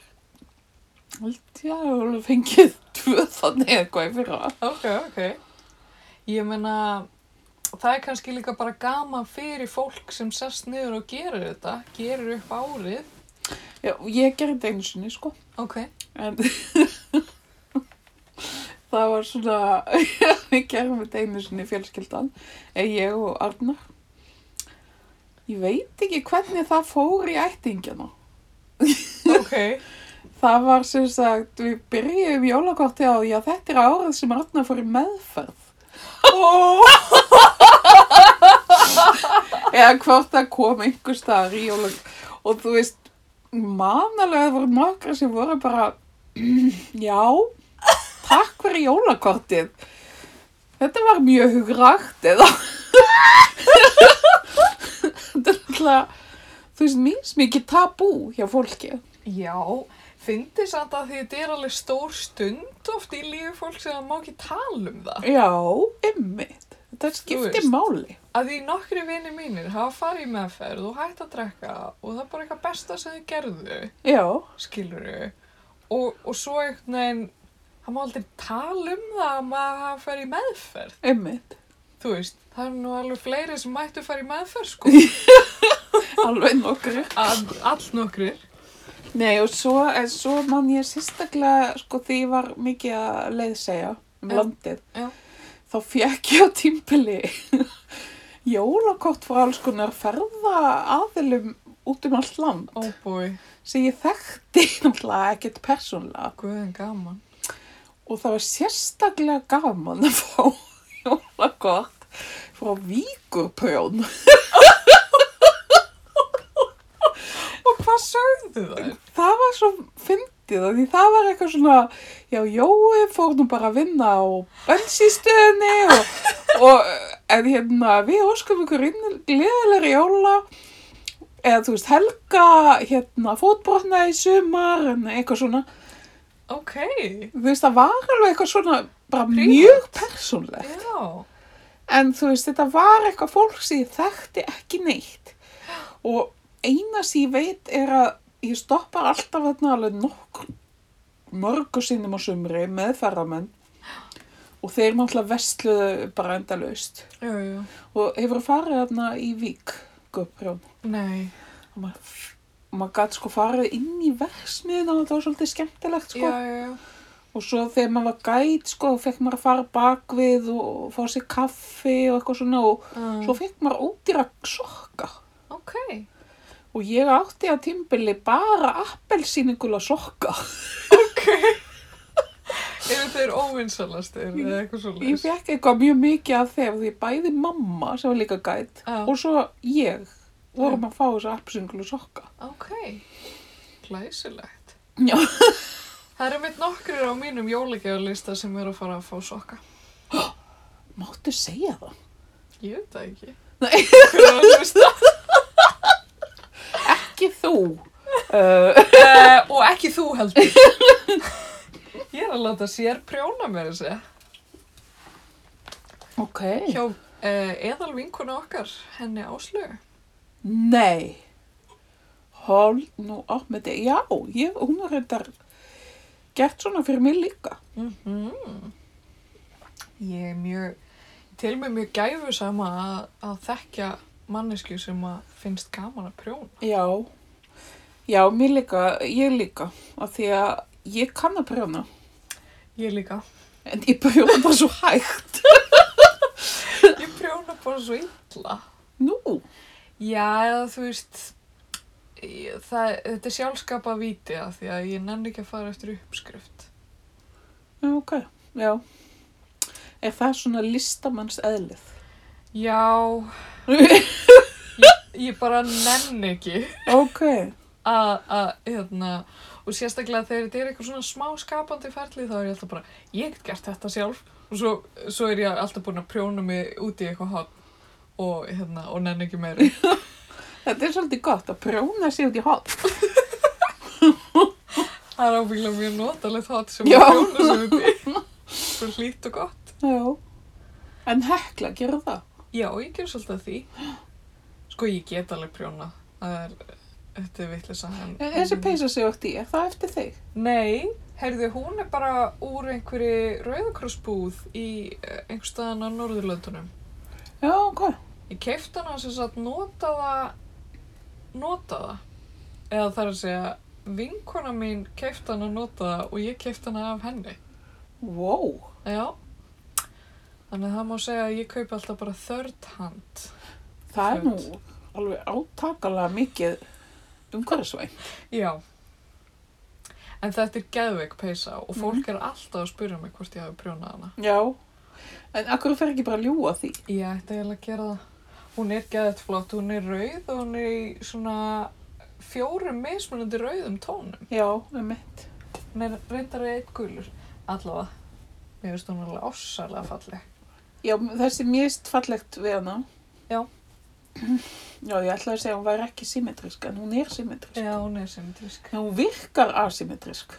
Speaker 2: held ég að hafa alveg fengið (laughs) tvö þannig eitthvað í fyrra.
Speaker 1: Ok, ok. Ég meina, það er kannski líka bara gaman fyrir fólk sem sest niður og gerir þetta, gerir upp árið.
Speaker 2: Já, ég gerði þetta einu sinni, sko.
Speaker 1: Ok. (laughs)
Speaker 2: En (laughs) það var svona, (laughs) við gerum þetta einu sinni fjölskyldan, en ég og Arnar. Ég veit ekki hvernig það fór í ættingjana.
Speaker 1: Ok.
Speaker 2: Það var sem sagt, við byrjuðum jólakorti á, já þetta er árið sem Arnar fór í meðferð.
Speaker 1: Oh.
Speaker 2: Eða hvort það kom einhver staðar í jólakorti. Og þú veist, manalega það voru nokkra sem voru bara, (clears throat) já, takk fyrir jólakortið. Þetta var mjög hugrakt eða. Þetta er alltaf, þú veist, mjög mikið tabú hjá fólki.
Speaker 1: Já, fyndið samt að því þetta er alveg stór stund oft í lífi fólk sem það má ekki tala um það.
Speaker 2: Já, ymmið. Þetta
Speaker 1: veist.
Speaker 2: skiptir máli.
Speaker 1: að því nokkri vini mínir hafa farið í meðferð og hægt að drekka og það er bara eitthvað besta sem þau gerðu,
Speaker 2: Já,
Speaker 1: skilur og, og svo einhvern veginn það má aldrei tala um það að maður hafa farið í meðferð,
Speaker 2: einmitt.
Speaker 1: þú veist það er nú alveg fleiri sem mættu farið í meðferð sko,
Speaker 2: Alveg nokkru.
Speaker 1: All, all nokkrir
Speaker 2: Nei, og svo, en svo man ég sérstaklega, sko, því ég var mikið að leiðsegja um
Speaker 1: Já.
Speaker 2: landið.
Speaker 1: Já.
Speaker 2: Þá fekk ég á tímpili (laughs) jólakort frá alls konar ferða aðilum út um allt land
Speaker 1: oh boy,
Speaker 2: sem ég þekkti (laughs) náttúrulega ekkert persónlega
Speaker 1: guðin gaman
Speaker 2: og það var sérstaklega gaman að fá (laughs) jólakort frá víkurprjón
Speaker 1: og hvað sögðu þær?
Speaker 2: það var svo fyndið af því það var eitthvað svona já, Jói fór nú bara að vinna á bensístöðinni og, og en hérna við óskum ykkur inn gleðilegri jóla eða þú veist, Helga hérna fótbrotnaði í sumar en eitthvað svona,
Speaker 1: ok,
Speaker 2: þú veist, það var alveg eitthvað svona bara
Speaker 1: Prívat.
Speaker 2: mjög persónlegt
Speaker 1: já
Speaker 2: en þú veist, þetta var eitthvað fólk sem ég þekkti ekki neitt og eina sem ég veit er að ég stoppar alltaf þarna alveg nokkur mörgu sinnum á sumri með ferðamenn og þeir náttúrulega vestluðu bara endalaust
Speaker 1: jú, jú,
Speaker 2: og hefur farið þarna í Vík Guðprjón
Speaker 1: nei
Speaker 2: og maður, maður gæti sko farið inn í versmiðina og þetta var svolítið skemmtilegt sko
Speaker 1: já, já, já,
Speaker 2: og svo þegar maður var gæt sko fekk maður að fara bakvið og, og fá sér kaffi og eitthvað svona og
Speaker 1: um,
Speaker 2: Svo fekk maður ódýra sokka
Speaker 1: Ah, ok
Speaker 2: og ég átti að tímbili bara appelsíningula sokka.
Speaker 1: ok eru þeir óvinsalastir eða eitthvað svo
Speaker 2: Ég fekk eitthvað mjög mikið af þeim því bæði mamma sem var líka gæt
Speaker 1: Já.
Speaker 2: og svo ég vorum að fá þessa appelsíningula sokka.
Speaker 1: Ok, glæsilegt.
Speaker 2: Já.
Speaker 1: Það eru mitt nokkrir á mínum jólagjafalista sem eru að fara að fá sokka.
Speaker 2: Máttu segja það?
Speaker 1: Ég veit það ekki.
Speaker 2: Nei.
Speaker 1: Hver er að hlusta?
Speaker 2: Ekki (laughs) þú. Uh,
Speaker 1: Eh, og ekki þú heldur. Ég er að láta sér prjóna mér þessi.
Speaker 2: ok.
Speaker 1: Hjá uh, eðal vinkuna okkar, henni Áslögu.
Speaker 2: Nei. Hál, nú á með þetta. Já, ég, hún er reyndar gert svona fyrir mig líka.
Speaker 1: Mm Ég er mjög, til mig mjög gæfu sama að, að þekkja mannesku sem að finnst gaman að prjóna.
Speaker 2: Já, já, mér líka, ég líka, af því að ég kann að prjóna,
Speaker 1: Ég líka. (laughs)
Speaker 2: en ég prjóna bara svo hægt.
Speaker 1: Ég prjóna bara svo illa.
Speaker 2: Nú,
Speaker 1: Já, eða þú veist, ég, það, þetta er sjálfskapa víti að því að ég nenni ekki að fara eftir uppskrift.
Speaker 2: já, ok, já, er það svona listamanns eðlið? (laughs)
Speaker 1: Já, ég bara nenni ekki
Speaker 2: ok,
Speaker 1: að, að, hérna, og sérstaklega þegar þetta er eitthvað svona smá skapandi ferli þá er ég alltaf bara, ég get gert þetta sjálf og svo, svo er ég alltaf búin að prjóna mig út í eitthvað hot og, hérna, og nenni ekki
Speaker 2: (laughs)
Speaker 1: meira.
Speaker 2: þetta er svolítið gott að prjóna sig út í hot.
Speaker 1: Það er ábyggilega mjög notalegt hot sem
Speaker 2: Já.
Speaker 1: að prjóna sig út í. Svo hlýtt og gott.
Speaker 2: Já, en hekla, gerðu það?
Speaker 1: Já, ég ger svolítið að því. Sko, ég get alveg prjóna. Það er, þetta er vitlisa. En,
Speaker 2: En E, þessi peysa sig út í, er það eftir þig?
Speaker 1: Nei, heyrðu, hún er bara úr einhverju rauðakrossbúð í eh, einhvers staðan á Norðurlöndunum.
Speaker 2: Já, ok,
Speaker 1: Ég kefti hana sem sagt notaða, notaða. Eða þar að segja, vinkona mín kefti hana notaða og ég kefti hana af henni.
Speaker 2: wow,
Speaker 1: Já. Þannig að það má segja að ég kaupi alltaf bara third hand.
Speaker 2: það er nú
Speaker 1: Flott.
Speaker 2: alveg átakalega mikið umhverfisvæn.
Speaker 1: Já. En þetta er geðveik peysa og fólk er alltaf að spyrja mig hvort ég hafi prjónað hana.
Speaker 2: Já, en akkur fer ekki bara að ljúa því?
Speaker 1: Ég ætti eiginlega að gera það. Hún er geðveikt flott, hún er rauð og hún er í svona fjórum mismunandi rauðum tónum.
Speaker 2: Já, um mitt.
Speaker 1: Hún er reyndar eitt gulur. Allavega. Mér finnst hún alveg ássalega falleg. sko.
Speaker 2: Já, þessi mjög fallegt við hana.
Speaker 1: Já.
Speaker 2: (clears throat) Já, ég ætlaði að segja að hún væri ekki symmetrisk, en hún er symmetrisk.
Speaker 1: Já, hún er symmetrisk.
Speaker 2: En hún virkar asymmetrisk.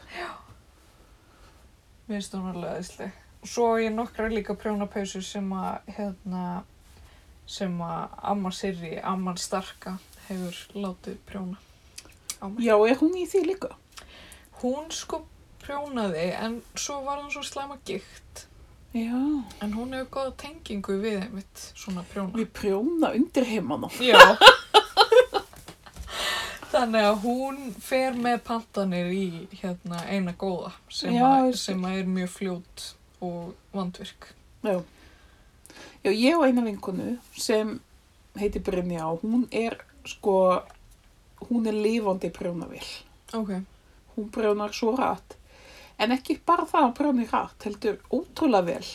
Speaker 1: Mér finnst hún alveg aðeinsleg. Svo á ég nokkra líka prjónapeysur sem að, hérna, sem að amma Sirri, amman starka hefur látið prjóna á mig.
Speaker 2: Já, er hún í því líka?
Speaker 1: Hún sko prjónaði en svo var hún svo slæma gikt
Speaker 2: Já.
Speaker 1: en hún hefur góða tengingu við einmitt svona prjóna.
Speaker 2: Við prjóna undir heimana.
Speaker 1: Já. Þannig að hún fer með pantanir í hérna eina góða sem,
Speaker 2: Já,
Speaker 1: að,
Speaker 2: ég skil.
Speaker 1: sem að er mjög fljót og vandvirk.
Speaker 2: Já. Já, ég og eina vinkonu sem heitir Brynja og hún er sko, hún er lifandi prjónavill.
Speaker 1: Ok.
Speaker 2: Hún prjónar svo rætt. En ekki bara það að prjóni rætt, heldur ótrúlega vel.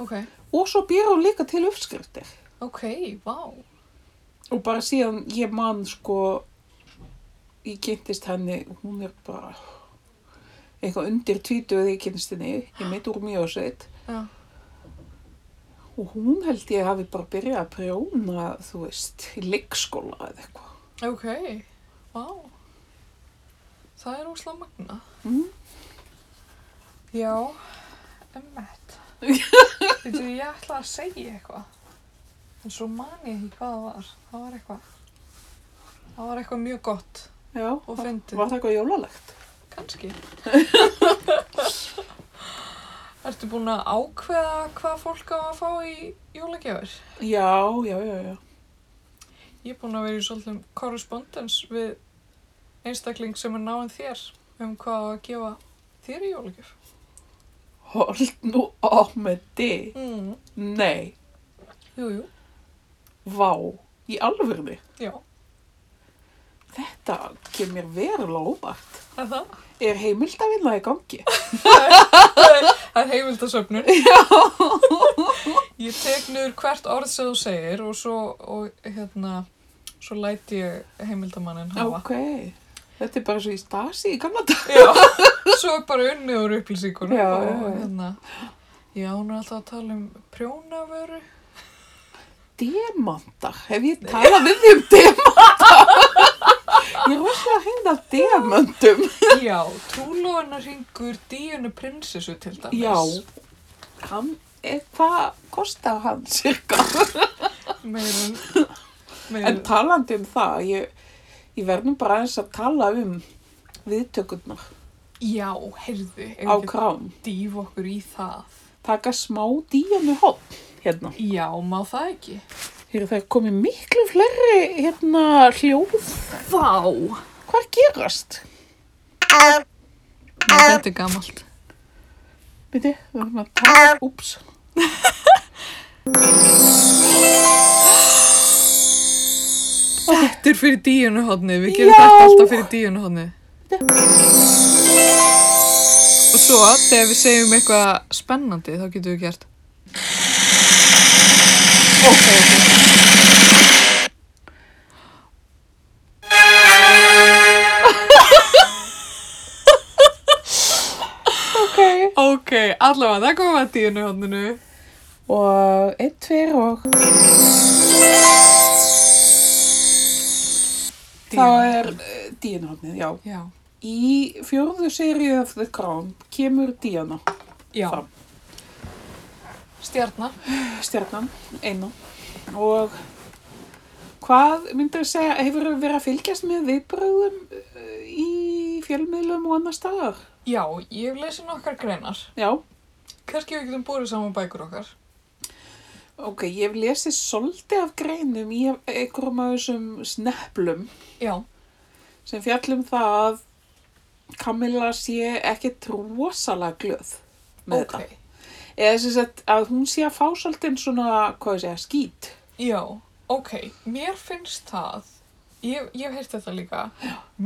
Speaker 1: Ok,
Speaker 2: Og svo býr hún líka til uppskriftir.
Speaker 1: ok, vá.
Speaker 2: Og bara síðan ég man sko, ég kynntist henni, hún er bara eitthvað undir tvítu þegar ég kynntist henni, ég mitt úr mjög sveit.
Speaker 1: Já.
Speaker 2: Og hún held ég hafi bara byrjað að prjóna, þú veist, í leikskóla eða eitthvað.
Speaker 1: Ok, vá. Það er óslega magna.
Speaker 2: Mm.
Speaker 1: Já, emmett. Veitu, ég ætla að segja eitthvað. En svo man ég ekki hvað það var. Það var eitthvað. Það var eitthvað mjög gott
Speaker 2: Já,
Speaker 1: og
Speaker 2: var
Speaker 1: fyndið.
Speaker 2: það eitthvað jólalegt?
Speaker 1: Kanski. (laughs) Ertu búin að ákveða hvað fólk á að fá í jólagjafir?
Speaker 2: Já, já, já, já.
Speaker 1: Ég er búin að vera í svolítið korrespondens við einstakling sem er náinn þér um hvað á að gefa þér í jólagjöf.
Speaker 2: Hold nú á með þig.
Speaker 1: Mm.
Speaker 2: Nei,
Speaker 1: Jú, jú,
Speaker 2: vá, í alvörni.
Speaker 1: já,
Speaker 2: Þetta kemur mér verulega óvart.
Speaker 1: er það.
Speaker 2: Er heimild að vinna í gangi?
Speaker 1: Það er (laughs) heimildasöfnun. Ég tek niður hvert orð sem þú segir og svo, og, hérna, svo læt ég heimildamannin hafa.
Speaker 2: Ok, þetta er bara svo í stasi í gamla dag.
Speaker 1: Já, (laughs) svo er bara unnið úr upplýsingunum
Speaker 2: Já,
Speaker 1: og
Speaker 2: já, já.
Speaker 1: hérna. Já, hún er alltaf að tala um
Speaker 2: (laughs)
Speaker 1: prjónavöru.
Speaker 2: Demantar, hef ég talað við þig um demantar? Ég er rosalega hrein af demantum.
Speaker 1: Já, trúlóðunar hringur díunu prinsessu til dæmis.
Speaker 2: Já, hann, eh, hvað kostar hann cirka?
Speaker 1: Meirun,
Speaker 2: (laughs) En
Speaker 1: meirun,
Speaker 2: talandi um það, ég, ég verð nú bara aðeins að tala um viðtökurnar
Speaker 1: já, heyrðu, ef við
Speaker 2: á
Speaker 1: ekki
Speaker 2: krám.
Speaker 1: dýf okkur í það.
Speaker 2: Taka smá díjanu hopp hérna.
Speaker 1: Já, má það ekki?
Speaker 2: Eru það komið miklu fleiri hérna hljóð?
Speaker 1: Vá!
Speaker 2: Hvað gerast?
Speaker 1: Nei, þetta er gamalt.
Speaker 2: Viti, við erum að tala, úps.
Speaker 1: Þetta er fyrir díunu hodni, við gerum
Speaker 2: Já.
Speaker 1: þetta alltaf fyrir díunu hodni. Og svo, þegar við segjum eitthvað spennandi, þá getum við gert.
Speaker 2: Ok, ok. ok.
Speaker 1: Ok, allavega, það komum við að díunu hodninu.
Speaker 2: Og einn, tveir og... Þá er díanahotnið, já.
Speaker 1: Já,
Speaker 2: Í fjórðu seríu af The Crown kemur díana,
Speaker 1: já.
Speaker 2: Fram.
Speaker 1: Stjarnar.
Speaker 2: stjarnan, einu. Og hvað myndir að segja, hefur verið að fylgjast með viðbröðum eh, í fjölmiðlum og annar staðar?
Speaker 1: Já, ég hef lesið nokkar greinar.
Speaker 2: Já,
Speaker 1: Kanski við getum búið saman bækur okkar.
Speaker 2: ok, ég hef lesið svolítið af greinum í einhverjum af þessum sneplum
Speaker 1: Já,
Speaker 2: sem fjallum það að Camilla sé ekkit rosalega glöð með
Speaker 1: ok.
Speaker 2: þetta. Eða þess að, að hún sé að fá svolítið svona, hvað ég segja, skít.
Speaker 1: Já, ok. Mér finnst það, ég, ég hef heyrt þetta líka,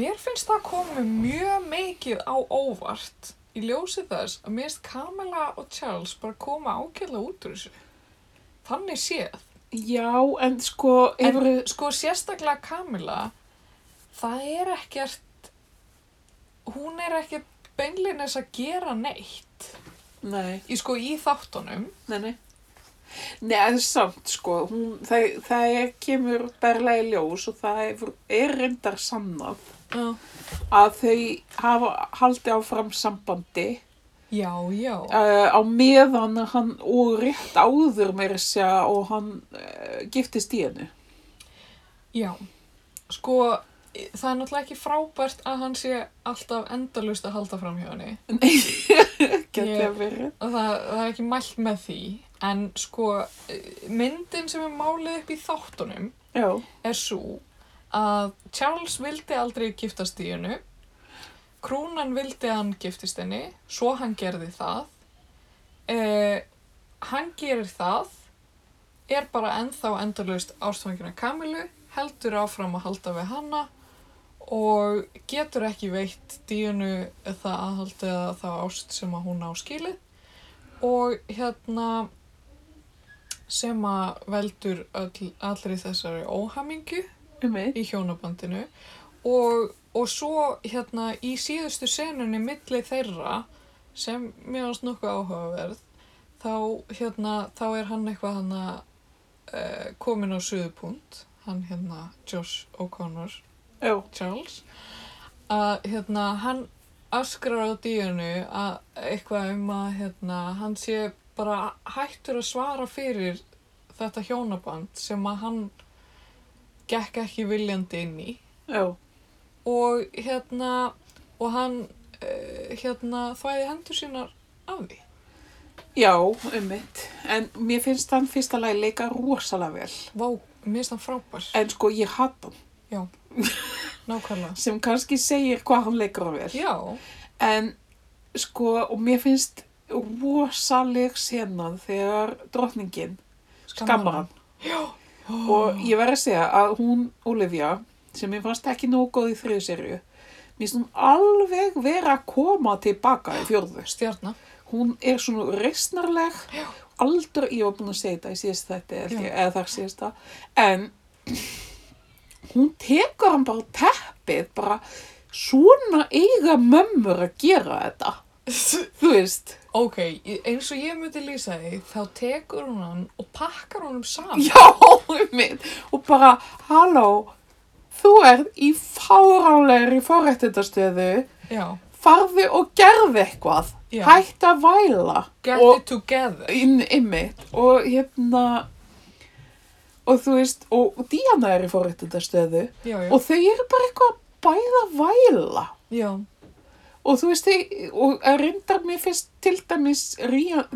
Speaker 1: mér finnst það komið mjög mikið á óvart í ljósið þess að mér finnst Kamala og Charles bara koma ákveðlega út úr þessu. Þannig séð.
Speaker 2: Já, en sko,
Speaker 1: En
Speaker 2: hefur,
Speaker 1: sko sérstaklega Kamila, það er ekkert, hún er ekkert beinlinnes að gera neitt.
Speaker 2: nei,
Speaker 1: Í sko í þáttunum.
Speaker 2: nei, nei. Nei, en samt, sko, hún, það, það er, kemur berlega í ljós og það hefur, er reyndar sannað
Speaker 1: Já.
Speaker 2: að þau hafa haldið áfram sambandi
Speaker 1: Já, já.
Speaker 2: uh, á meðan hann og rétt áður meira að segja og hann uh, giftist í henni.
Speaker 1: Já. Sko, það er náttúrulega ekki frábært að hann sé alltaf endalust að halda fram hjá henni.
Speaker 2: Nei, gæti að verið.
Speaker 1: Og það, það er ekki mælt með því. En sko, eh, myndin sem er málið upp í þáttunum
Speaker 2: Já,
Speaker 1: er svo að Charles vildi aldrei giftast í hennu. Krúnan vildi að hann giftist henni, svo hann gerði það. Eh, hann gerir það, er bara ennþá endalaust ástfangina Kamilu, heldur áfram að halda við hanna og getur ekki veitt díunu það aðhald eða þá ást sem að hún á skilið og hérna sem að veldur öll, allri þessari óhamingu
Speaker 2: um mig.
Speaker 1: í hjónabandinu og, og svo hérna í síðustu senunni milli þeirra sem mér finnst nokkuð áhugaverð þá hérna þá er hann eitthvað hann að uh, komin á suðupunkt hann hérna Josh O'Connor
Speaker 2: Já,
Speaker 1: Charles að hérna hann öskrar á díunu að eitthvað um að hérna hann sé bara hættur að svara fyrir þetta hjónaband sem að hann gekk ekki viljandi inn í
Speaker 2: já,
Speaker 1: og hérna og hann uh, hérna þvæði hendur sínar af því
Speaker 2: já, um mitt. En mér finnst hann fyrsta lagi leika rosalega vel.
Speaker 1: Vá, mér finnst hann frábær
Speaker 2: En sko, ég hatt hann,
Speaker 1: Já, nákvæmlega
Speaker 2: sem kannski segir hvað hann leikur hann vel.
Speaker 1: Já,
Speaker 2: En sko, og mér finnst rosaleg senan þegar drottningin skammar hann. Og ég verð að segja að hún, Olivia, sem mér fannst ekki nóg góð í þriðu serju, mér finnst hún alveg vera að koma tilbaka í fjórðu.
Speaker 1: Stjarnar
Speaker 2: Hún er svona reysnarleg,
Speaker 1: Já.
Speaker 2: aldur, ég var búin að segja þetta í síðast þetta,
Speaker 1: Já.
Speaker 2: eða þar síðast það, en hún tekur hann bara á teppið, bara svona eiga mömmur að gera þetta, þú veist.
Speaker 1: Ok, eins og ég myndi lýsa því, þá tekur hún hann og pakkar honum saman.
Speaker 2: Já, mitt. Og bara, halló, þú ert í fáránlegri fórættindastöðu,
Speaker 1: Já,
Speaker 2: farðu og gerðu eitthvað.
Speaker 1: Já.
Speaker 2: Hætt að væla.
Speaker 1: get
Speaker 2: og
Speaker 1: it together.
Speaker 2: inn, einmitt. Og hérna, og þú veist, og, og Díana er í fórættindastöðu
Speaker 1: Já, já,
Speaker 2: og þau eru bara eitthvað bæða væla.
Speaker 1: já,
Speaker 2: Og þú veist, þau, og að reyndar mér finnst til dæmis Ríana,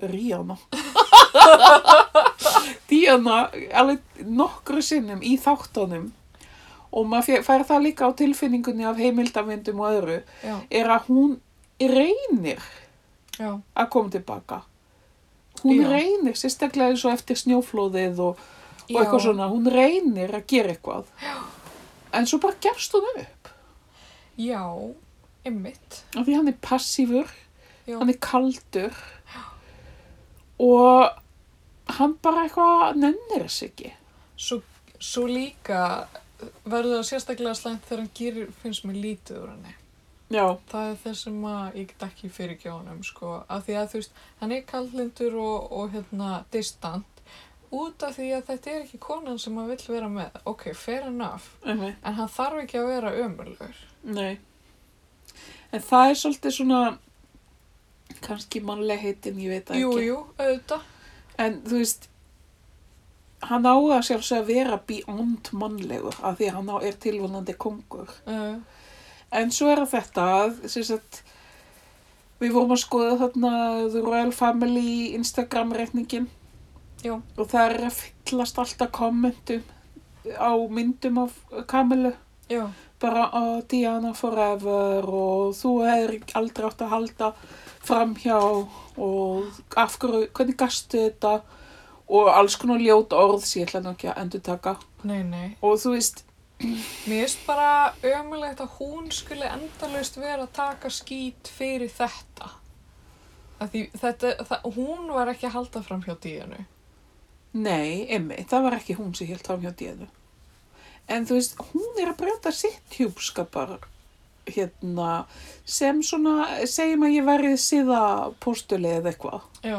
Speaker 2: Ríana, (laughs) Díana, alveg nokkru sinnum í þáttunum og maður fe- fær það líka á tilfinningunni af heimildamöndum og öðru,
Speaker 1: já,
Speaker 2: er að hún reynir
Speaker 1: já,
Speaker 2: að koma tilbaka. Hún
Speaker 1: Já.
Speaker 2: reynir, sérstaklega eins og eftir snjóflóðið og, og
Speaker 1: Já.
Speaker 2: eitthvað svona, hún reynir að gera eitthvað. Já. En svo bara gefst hún upp,
Speaker 1: já, einmitt.
Speaker 2: af því hann er passífur
Speaker 1: Já,
Speaker 2: hann er kaldur og hann bara eitthvað nennir þess ekki
Speaker 1: svo, svo líka verður það sérstaklega slæmt þegar hann gerir, finnst mér lítið úr henni.
Speaker 2: já,
Speaker 1: Það er það sem að ég get ekki fyrir gjónum, sko, af því að þú veist, hann er kallindur og, og hérna, distant, út af því að þetta er ekki konan sem hann vill vera með. Ok, fair enough,
Speaker 2: emi,
Speaker 1: en hann þarf ekki að vera ömurlegur.
Speaker 2: nei en það er svolítið svona kannski mannleg heitin, ég veit það
Speaker 1: Jú,
Speaker 2: ekki
Speaker 1: jú, auðvitað.
Speaker 2: en þú veist hann á að sjálfsög að vera beyond mannlegur af því að hann á er tilvonandi kongur
Speaker 1: Uh,
Speaker 2: En svo er það þetta að, sem sagt, við vorum að skoða þarna The Royal Family Instagram-reikningin
Speaker 1: Já.
Speaker 2: og það er að fyllast alltaf kommentum á myndum af Kamilu
Speaker 1: já,
Speaker 2: bara að Diana forever og þú er aldrei átt að halda framhjá og af hverju, hvernig gastu þetta og alls konar ljót orð sem ég ætla nú ekki að endurtaka
Speaker 1: nei, nei.
Speaker 2: og þú veist,
Speaker 1: Mér finnst bara ömulegt að hún skulle endalaust vera að taka skít fyrir þetta. Af Því, þetta það, hún var ekki að halda fram hjá díðinu.
Speaker 2: Nei, emmi, það var ekki hún sem held framhjá dýðu. En þú veist, hún er að breyta sitt hjúpskapar hérna sem svona, segjum að ég verið síða postuli eða eitthvað
Speaker 1: Já,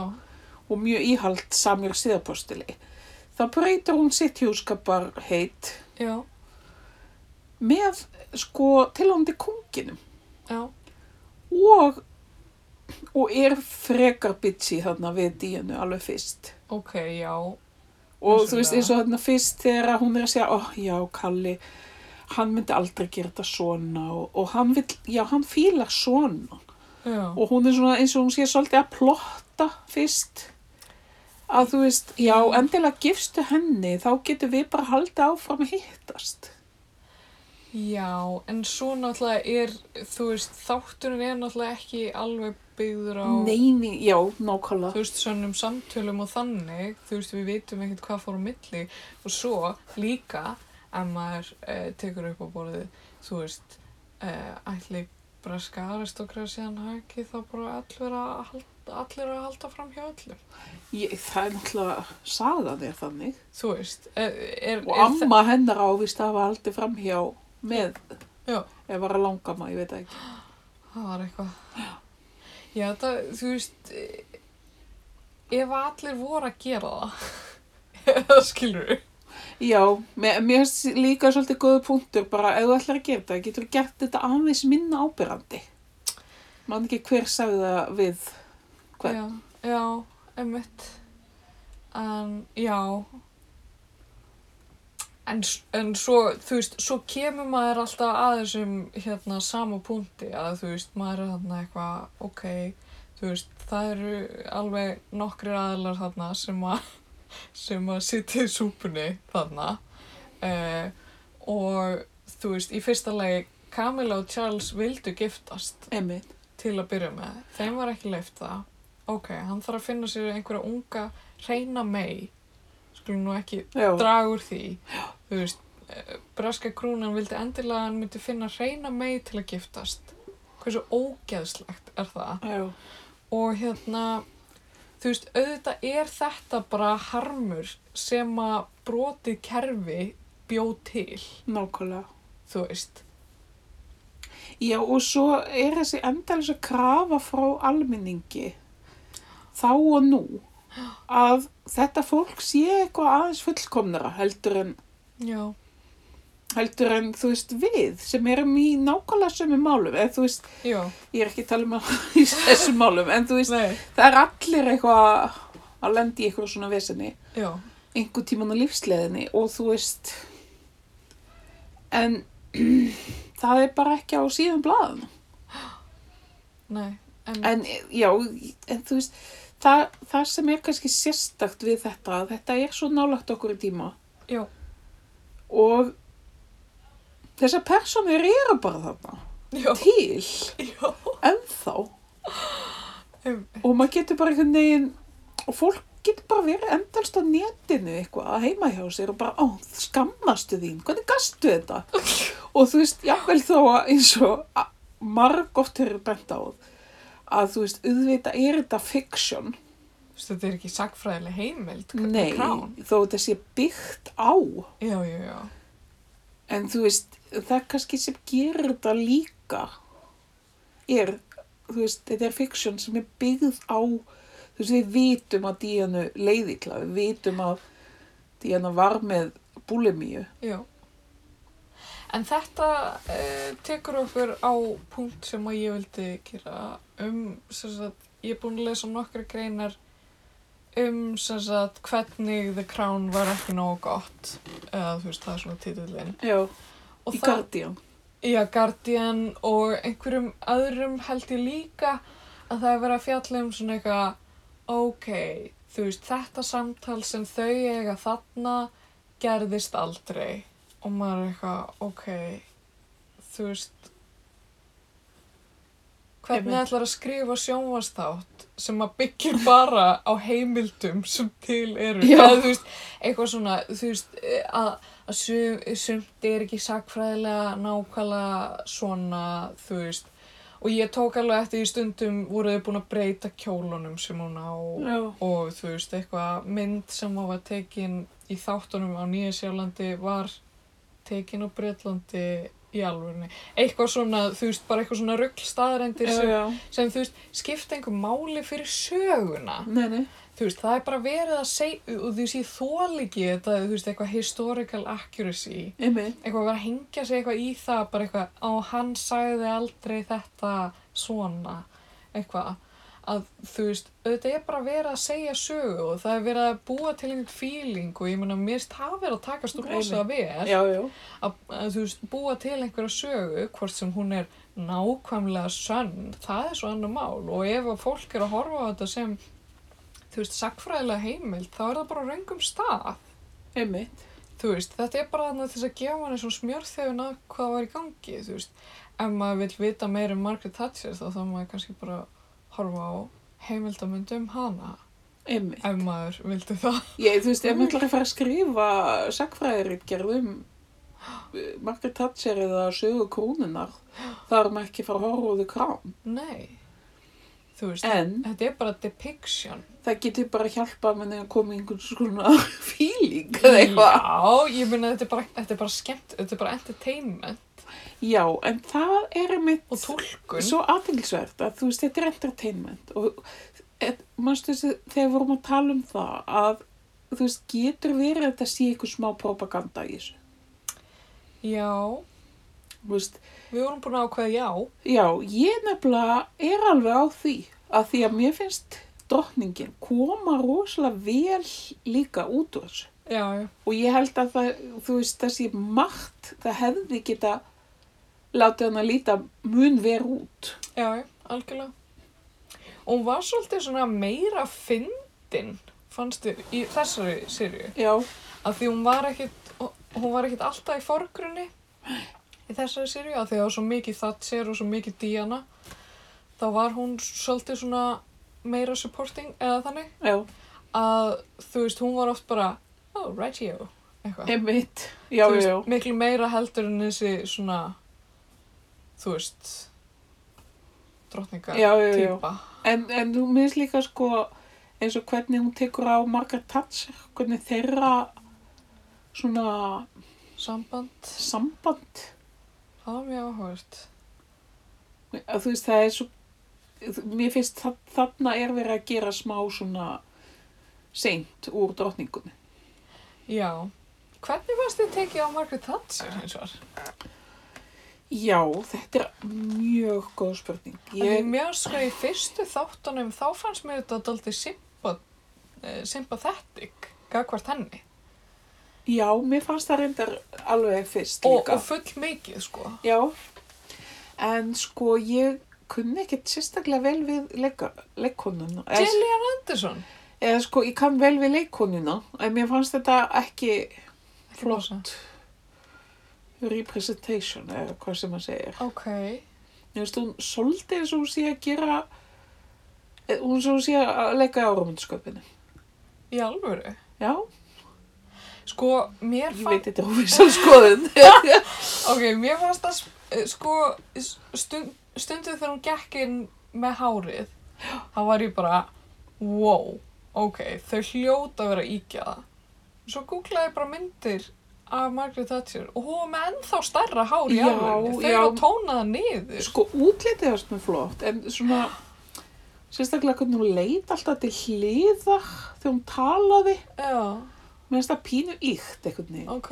Speaker 2: og mjög íhald samjör síða postuli. Þá breytir hún sitt hjúskapar heit
Speaker 1: já,
Speaker 2: með sko tilhandi kunginum
Speaker 1: já,
Speaker 2: og og er frekar bitchy þarna við díunu alveg fyrst.
Speaker 1: ok, já,
Speaker 2: Og
Speaker 1: Vissulega.
Speaker 2: þú veist eins og þarna fyrst þegar að hún er að segja, ó já Kalli, hann myndi aldrei gera þetta svona og, og hann vill, já hann fílar svona.
Speaker 1: já,
Speaker 2: Og hún er svona eins og hún sé svolítið að plotta fyrst. Að þú veist, já endilega gifstu henni, þá getur við bara haldið áfram að hittast.
Speaker 1: já, en svo náttúrulega er, þú veist, þátturinn er náttúrulega ekki alveg byggður á,
Speaker 2: Nei, nei, já, nákvæmlega.
Speaker 1: þú veist, svonum samtölum og þannig, þú veist, við vitum ekkert hvað fór á milli og svo líka, ef maður uh, tekur upp á borðið, þú veist, uh, ætli braska aristokrasiðan hafi ekki þá bara allir að, halda, allir að halda fram hjá öllum.
Speaker 2: Ég, það er náttúrulega, saðan er þannig.
Speaker 1: Þú veist, eh, er,
Speaker 2: Og
Speaker 1: er,
Speaker 2: amma hennar ávist að hafa haldið framhjá með,
Speaker 1: Já.
Speaker 2: ef var að langa maður, ég veit það ekki.
Speaker 1: Það var eitthvað. Já, það, þú veist, eh, ef allir voru að gera það, (laughs) eða skilur við.
Speaker 2: Já, mér, mér finnst líka svolítið góðu punktur, bara ef þú ætlar að gera þetta, getur þú gert þetta aðeins minna ábyrrandi. Man ekki hver sagði það við hvern.
Speaker 1: Já, já, einmitt. En, já. En, s- en svo, þú veist, svo kemur maður alltaf að þessum, hérna, sama punkti að, þú veist, maður er þarna eitthvað, ok, þú veist, það eru alveg nokkrir aðlar þarna sem að, (laughs) sem að sitja í súpunni þarna. Uh, og, þú veist, í fyrsta lagi, Camilla og Charles vildu giftast
Speaker 2: Einmitt.
Speaker 1: til að byrja með. Þeim var ekki leift það. Ok, hann þarf að finna sér einhverja unga reyna mei. Skulum nú ekki
Speaker 2: Já,
Speaker 1: draga úr því. Þú veist, eh, braska krúnan vildi endilega að hann myndi finna reyna mei til að giftast. Hversu ógeðslegt er það?
Speaker 2: já,
Speaker 1: Og hérna, þú veist, auðvitað er þetta bara harmur sem að brotið kerfi bjó til,
Speaker 2: nákvæmlega.
Speaker 1: þú veist.
Speaker 2: Já, og svo er þessi endalins að krafa frá almenningi þá og nú að þetta fólk sé eitthvað aðeins fullkomnara heldur en,
Speaker 1: Já,
Speaker 2: heldur en þú veist við sem erum í nákvæmlega sömu málum eða þú veist,
Speaker 1: já,
Speaker 2: ég er ekki að tala um að (laughs) í þessum málum, en þú veist
Speaker 1: nei,
Speaker 2: það er allir eitthvað að lenda í eitthvað svona vesenni
Speaker 1: já,
Speaker 2: einhver tíman á lífsleðinni og þú veist en (clears throat) það er bara ekki á síðan blaðan
Speaker 1: nei, en,
Speaker 2: Mm. En já, en þú veist, það, það sem er kannski sérstakt við þetta, að þetta er svo nálagt okkur í tíma
Speaker 1: já,
Speaker 2: og þessar personur eru bara þarna,
Speaker 1: já,
Speaker 2: til,
Speaker 1: já,
Speaker 2: ennþá
Speaker 1: um,
Speaker 2: og maður getur bara einhvern veginn, og fólk getur bara verið endalst á netinu eitthvað að heima hjá sér og bara, ó, skammastu þín, hvernig gastu þetta? og þú veist, jáfnvel þó að eins og marg oft hefur bent á að þú veist, auðvitað er þetta fiction
Speaker 1: Þú veist, þetta er ekki sagfræðileg heimild, k-
Speaker 2: Nei,
Speaker 1: krán.
Speaker 2: þó þetta sé byggt á,
Speaker 1: Já, já, já.
Speaker 2: en þú veist, það er kannski sem gerir þetta líka er, þú veist, þetta er fiction sem er byggð á, þú veist, við vitum að Díanu leiðikla, við vitum að Díana var með búlimíu.
Speaker 1: Já. En þetta uh, tekur okkur á punkt sem að ég vildi gera um, sem sagt, ég er búin að lesa nokkra greinar um, sem sagt, hvernig The Crown var ekki nógu gott, eða þú veist, það er svona titillinn.
Speaker 2: Já,
Speaker 1: Og
Speaker 2: í
Speaker 1: það-
Speaker 2: Guardian.
Speaker 1: Já, Guardian og einhverjum öðrum held ég líka að það er verið að fjalla um svona eitthvað, ok, þú veist, þetta samtal sem þau eiga þarna gerðist aldrei og maður er eitthvað, ok, þú veist, hvernig
Speaker 2: Einmitt.
Speaker 1: ætlar að skrifa sjónvastátt sem að byggir bara á heimildum sem til eru,
Speaker 2: Já.
Speaker 1: eða þú veist, eitthvað svona, þú veist, eh, að að sum, sumt er ekki sakfræðilega nákvæmlega svona, þú veist og ég tók alveg eftir í stundum voru þau búin að breyta kjólunum sem hún á
Speaker 2: Já,
Speaker 1: og þú veist, eitthvað mynd sem hún var tekin í þáttunum á Nýja Sjálandi var tekin á Breitlandi í alvörni eitthvað svona, þú veist, bara eitthvað svona rugl staðarendir
Speaker 2: já,
Speaker 1: sem,
Speaker 2: já.
Speaker 1: sem, þú veist, skipta einhver máli fyrir söguna
Speaker 2: Nei, nei.
Speaker 1: þú veist, það er bara verið að segja og þú veist, ég þól ekki þetta, þú veist, eitthvað historical accuracy
Speaker 2: Emi,
Speaker 1: eitthvað að vera að hengja sig eitthvað í það bara eitthvað, á hann sagði aldrei þetta svona eitthvað að þú veist, auðvitað er bara verið að segja sögu og það er verið að búa til einhvern feeling og ég meina, mér finnst það verið að takast úr rosa vel
Speaker 2: Já, já.
Speaker 1: að, að þú veist, búa til einhverja sögu hvort sem hún er nákvæmlega sönn, það er svo annar mál og ef að fólk er að horfa á þetta sem þú veist, sakfræðilega heimild þá er það bara á raungum stað
Speaker 2: Einmitt.
Speaker 1: þú veist, þetta er bara þannig til þess að gefa manni svona smjörþefin að hvað var í gangi, þú veist. Ef maður vill vita meira um Margaret Thatcher þá þá maður kannski bara horfa á heimildamönd um hana,
Speaker 2: Einmitt.
Speaker 1: ef maður vildi það.
Speaker 2: Ég, þú veist, ef maður ætlar að fara að skrifa sagfræðirritgerð um eh, Margaret Thatcher eða sögu krúnunar, þá er maður ekki að fara að horfa á þau krám.
Speaker 1: Nei, þú veist,
Speaker 2: En
Speaker 1: þetta er bara depiction.
Speaker 2: það getur bara að hjálpa manni að koma í einhvern svona (laughs) fíling
Speaker 1: Mm.
Speaker 2: eða eitthvað.
Speaker 1: Já, ég meina þetta er bara, þetta er bara skemmt, þetta er bara entertainment
Speaker 2: Já, en það er einmitt
Speaker 1: og tólkun.
Speaker 2: svo aðeinsvert að þú veist, þetta er entertainment og et, manstu þessi, þegar við vorum að tala um það að þú veist, getur verið að þetta sé eitthvað smá propaganda í þessu.
Speaker 1: Já,
Speaker 2: Þú veist,
Speaker 1: við vorum búin að ákveða já.
Speaker 2: já, ég nefnilega er alveg á því að því að mér finnst drottningin koma rosalega vel líka út úr þessu.
Speaker 1: Já, já,
Speaker 2: Og ég held að það, þú veist, þessi margt, það hefði geta látið hann að líta mun ver út.
Speaker 1: já, já, algjörlega. Og hún var svolítið svona meira fyndin, fannst þér, í þessari sirju.
Speaker 2: Já,
Speaker 1: Af því hún var ekkit, hún var ekkit alltaf í forgrunni í þessari sirju, af því það var svo mikið Thatcher og svo mikið Diana. Þá var hún svolítið svona meira supporting eða þannig
Speaker 2: já,
Speaker 1: að þú veist, hún var oft bara, oh, right here, eitthvað.
Speaker 2: einmitt, já,
Speaker 1: Þú
Speaker 2: já,
Speaker 1: veist,
Speaker 2: já,
Speaker 1: miklu meira heldur en þessi svona, þú veist, drottninga
Speaker 2: já, já, já.
Speaker 1: típa.
Speaker 2: En, en þú minnst líka sko eins og hvernig hún tekur á margar tatser, hvernig þeirra svona
Speaker 1: Samband,
Speaker 2: samband,
Speaker 1: það var mjög áhugast.
Speaker 2: að þú veist, það er svo, mér finnst það, þarna er verið að gera smá svona seint úr drottningunni.
Speaker 1: Já. Hvernig varst þið tekið á Margaret Thatcher eins og var?
Speaker 2: Já, þetta er mjög góð spurning.
Speaker 1: Ég... Mér sko í fyrstu þáttunum þá fannst mér þetta daldið sympa, eh, sympathetic gagvart henni.
Speaker 2: Já, mér fannst það reyndar alveg fyrst
Speaker 1: Og,
Speaker 2: líka.
Speaker 1: og full mikið sko.
Speaker 2: Já, en sko ég kunni ekkert sérstaklega vel við leika, leikonuna. Eða,
Speaker 1: Gillian Anderson.
Speaker 2: eða sko, ég kann vel við leikonuna, en mér fannst þetta ekki
Speaker 1: Ekki passa.
Speaker 2: flott representation, eða hvað sem maður segir.
Speaker 1: Ok.
Speaker 2: Mér finnst hún svolítið eins og hún sé að gera, eða hún svo sé að leika á romandsköpinu.
Speaker 1: Í alvöru.
Speaker 2: Já,
Speaker 1: Sko, mér
Speaker 2: ég
Speaker 1: fann...
Speaker 2: veit þetta er óvissan skoðun.
Speaker 1: Ok, mér fannst það eh, sko stund, stundu þegar hún gekk inn með hárið, þá var ég bara, wow, ok, þau hljóta að vera að íkja það. Svo googlaði ég bara myndir af Margaret Thatcher og hún var með ennþá stærra hár í
Speaker 2: Já,
Speaker 1: alveg, þau
Speaker 2: já.
Speaker 1: eru að tóna það niður.
Speaker 2: sko útlitið varst mér flott en svona sérstaklega hvernig hún leit alltaf til hliðar þegar hún talaði
Speaker 1: Já,
Speaker 2: mér finnst það pínu íkt einhvern veginn
Speaker 1: ok,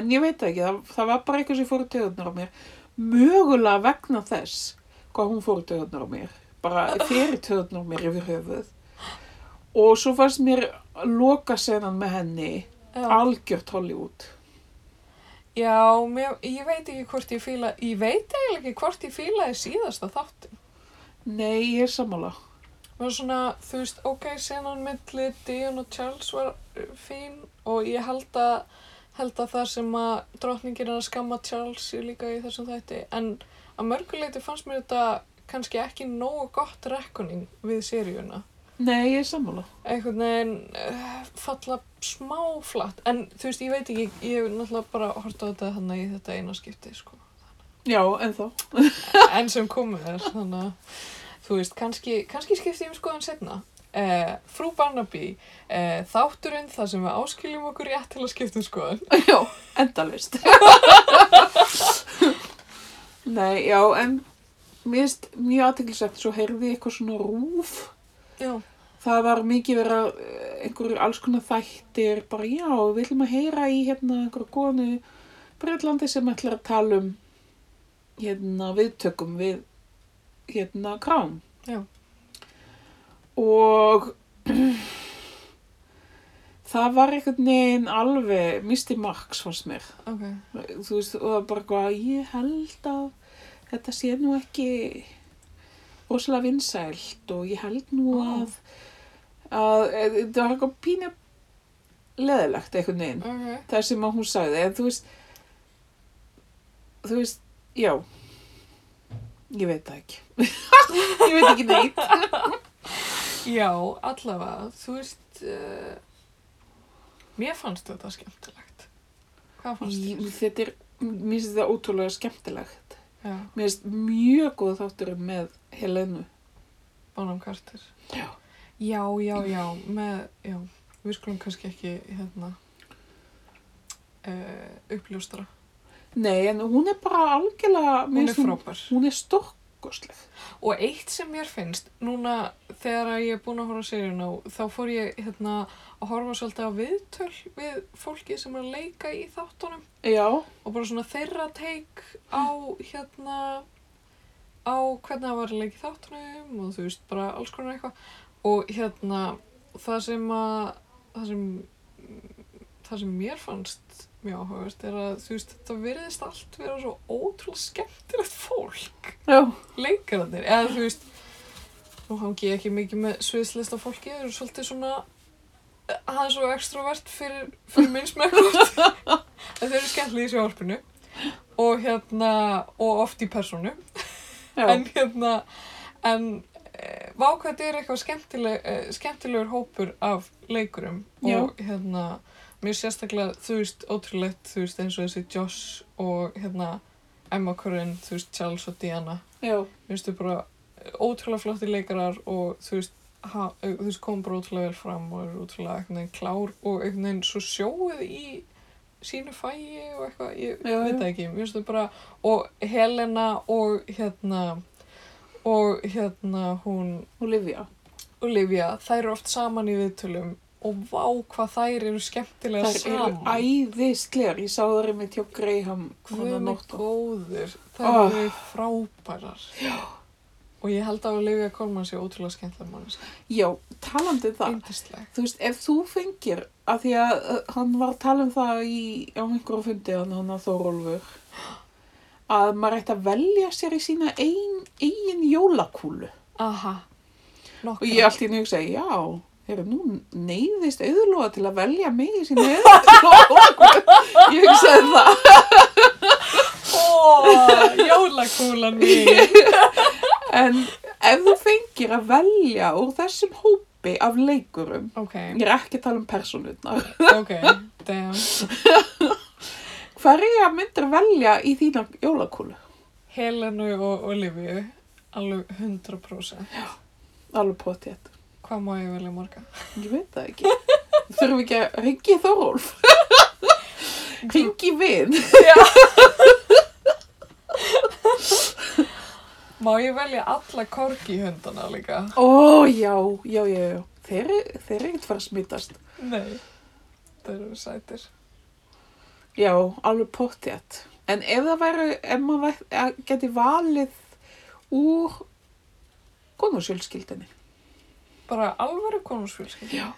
Speaker 2: en ég veit það ekki, það, það var bara eitthvað sem fór í töðunar á mér mögulega vegna þess hvað hún fór í töðunar á mér bara fyrir töðunar á mér yfir höfuð og svo fannst mér loka senan með henni
Speaker 1: já.
Speaker 2: algjört Hollywood
Speaker 1: Já, mér, ég veit ekki hvort ég fíla, ég veit eiginlega ekki hvort ég fílaði síðasta þáttin.
Speaker 2: nei, ég er sammála
Speaker 1: var svona, þú veist, ok, senan milli Dion og Charles var uh, fín og ég held að, held að það sem að drottningir er að skamma Charles er líka í þessum þætti en að mörguleiti fannst mér þetta kannski ekki nógu gott rekkuning við seríuna.
Speaker 2: nei, ég er sammála
Speaker 1: Einhvern veginn uh, falla smáflatt en þú veist, ég veit ekki, ég hef náttúrulega bara hort á þetta þannig í þetta eina skipti, sko.
Speaker 2: já, en þá
Speaker 1: enn sem komið er þannig að þú veist, kannski, kannski skipti ég um skoðan setna eh, frú Barnaby eh, þátturinn þar sem við áskiljum okkur rétt til að skipta um skoðan
Speaker 2: Já, endalvist. Nei, já, en mér finnst mjög aðteklisvægt, svo heyrði ég eitthvað svona rúf.
Speaker 1: já,
Speaker 2: Það var mikið verið að eh, einhverjir alls konar þættir, bara já, við ætlum að heyra í hérna einhverja konu Breitlandi sem ætlar að tala um hérna viðtökum við hérna krám.
Speaker 1: Já.
Speaker 2: og (clears throat) það var einhvern veginn alveg misti marks fannst mér
Speaker 1: ok,
Speaker 2: þú veist, og það var bara eitthvað ég held að þetta sé nú ekki rosalega vinsælt og ég held nú
Speaker 1: Ó.
Speaker 2: að að e, þetta var eitthvað pína leðilegt einhvern veginn
Speaker 1: ok,
Speaker 2: það sem að hún sagði en þú veist þú veist, já ég veit það ekki (laughs) ég veit ekki neitt
Speaker 1: já, allavega, þú veist, uh, mér fannst þetta skemmtilegt. Hvað fannst
Speaker 2: Ég-
Speaker 1: þér?
Speaker 2: þetta er, mér finnst þetta ótrúlega skemmtilegt
Speaker 1: Já,
Speaker 2: mér finnst mjög góð þáttur með Helenu
Speaker 1: Bonham Carter.
Speaker 2: Já.
Speaker 1: Já, já, já, með, já, við skulum kannski ekki, hérna, uh, uppljóstra.
Speaker 2: nei, en hún er bara algjörlega mér
Speaker 1: Hún er
Speaker 2: finnst
Speaker 1: frábær.
Speaker 2: hún er storkosleg
Speaker 1: Og eitt sem mér finnst, núna þegar að ég er búin að horfa sérjun á, þá fór ég hérna að horfa svolítið á viðtöl við fólki sem er að leika í þáttunum
Speaker 2: já,
Speaker 1: og bara svona þeirra teik á hérna, á hvernig það var að leika í þáttunum og þú veist, bara alls konar eitthvað. Og hérna, það sem að, það sem, það sem mér fannst mjög áhugast er að þú veist, þetta virðist allt vera svo ótrúlega skemmtilegt fólk
Speaker 2: já,
Speaker 1: leikararnir eða þú veist nú hangi ég ekki mikið með sviðslista fólki það eru svolítið svona það er svo extrovert fyrir, fyrir minn smekkvöld en þau eru skemmtilega í sjóarpinu og hérna og oft í persónu
Speaker 2: já.
Speaker 1: en hérna en e, vákvæmt er eitthvað skemmtileg, e, skemmtilegur hópur af leikurum og hérna mér sérstaklega þú veist ótrúlegt þú veist eins og þessi Josh og hérna Emma Corrin, þú veist Charles og Diana
Speaker 2: já,
Speaker 1: Mér finnst þau bara ótrúlega flottir leikarar og þú veist, ha, eh, þú veist kom bara ótrúlega vel fram og eru ótrúlega einhvern veginn klár og einhvern veginn svo sjóið í sínu fæi og eitthvað, ég
Speaker 2: Já,
Speaker 1: veit
Speaker 2: já.
Speaker 1: það ekki, mér finnst þau bara, og Helena og hérna, og hérna hún
Speaker 2: Olivia
Speaker 1: Olivia, þær eru oft saman í viðtölum og vá hvað þær eru skemmtilega
Speaker 2: þær eru
Speaker 1: saman.
Speaker 2: æðislegar ég sá þar einmitt hjá Graham
Speaker 1: Guð
Speaker 2: hana
Speaker 1: mig
Speaker 2: nótt og-
Speaker 1: góður,
Speaker 2: Ah.
Speaker 1: það oh. eru frábærar. Já. Og ég held að Olivia Colman sé ótrúlega skemmtilega manneskja.
Speaker 2: já, talandi um það
Speaker 1: Índisleg.
Speaker 2: þú veist, ef þú fengir að því að uh, hann var að tala um það í, á einhverjum fundi hann, hann að Þórólfur að maður ætti að velja sér í sína ein, eigin jólakúlu
Speaker 1: Aha.
Speaker 2: og
Speaker 1: Nokkra.
Speaker 2: ég allt í njög segi, já hefur nú neyðist auðlóa til að velja mig í sína jólakúlu (laughs) ég hugsaði það
Speaker 1: Ó, jólakúlan mín.
Speaker 2: en ef þú fengir að velja úr þessum hópi af leikurum
Speaker 1: ok,
Speaker 2: ég er ekki að tala um personutnar
Speaker 1: ok, damn.
Speaker 2: hverja myndir velja í þína jólakúlu?
Speaker 1: Helenu og Olivia, alveg 100%.
Speaker 2: alveg potið
Speaker 1: Hvað má ég velja marga?
Speaker 2: Ég veit það ekki. Þurfum við ekki að ringi Þórólf. Ringi vin.
Speaker 1: Má ég velja alla korgi hundana líka?
Speaker 2: Ó, já, já, já, já. Þeir, eru- þeir eru ekkert fara að smítast.
Speaker 1: Nei. Það eru sætir.
Speaker 2: Já, alveg pottjætt. En ef það væri, ef maður væri- að geti valið úr konarsjölskyldinni,
Speaker 1: Bara alvöru konungsfjölskyldi.
Speaker 2: Já.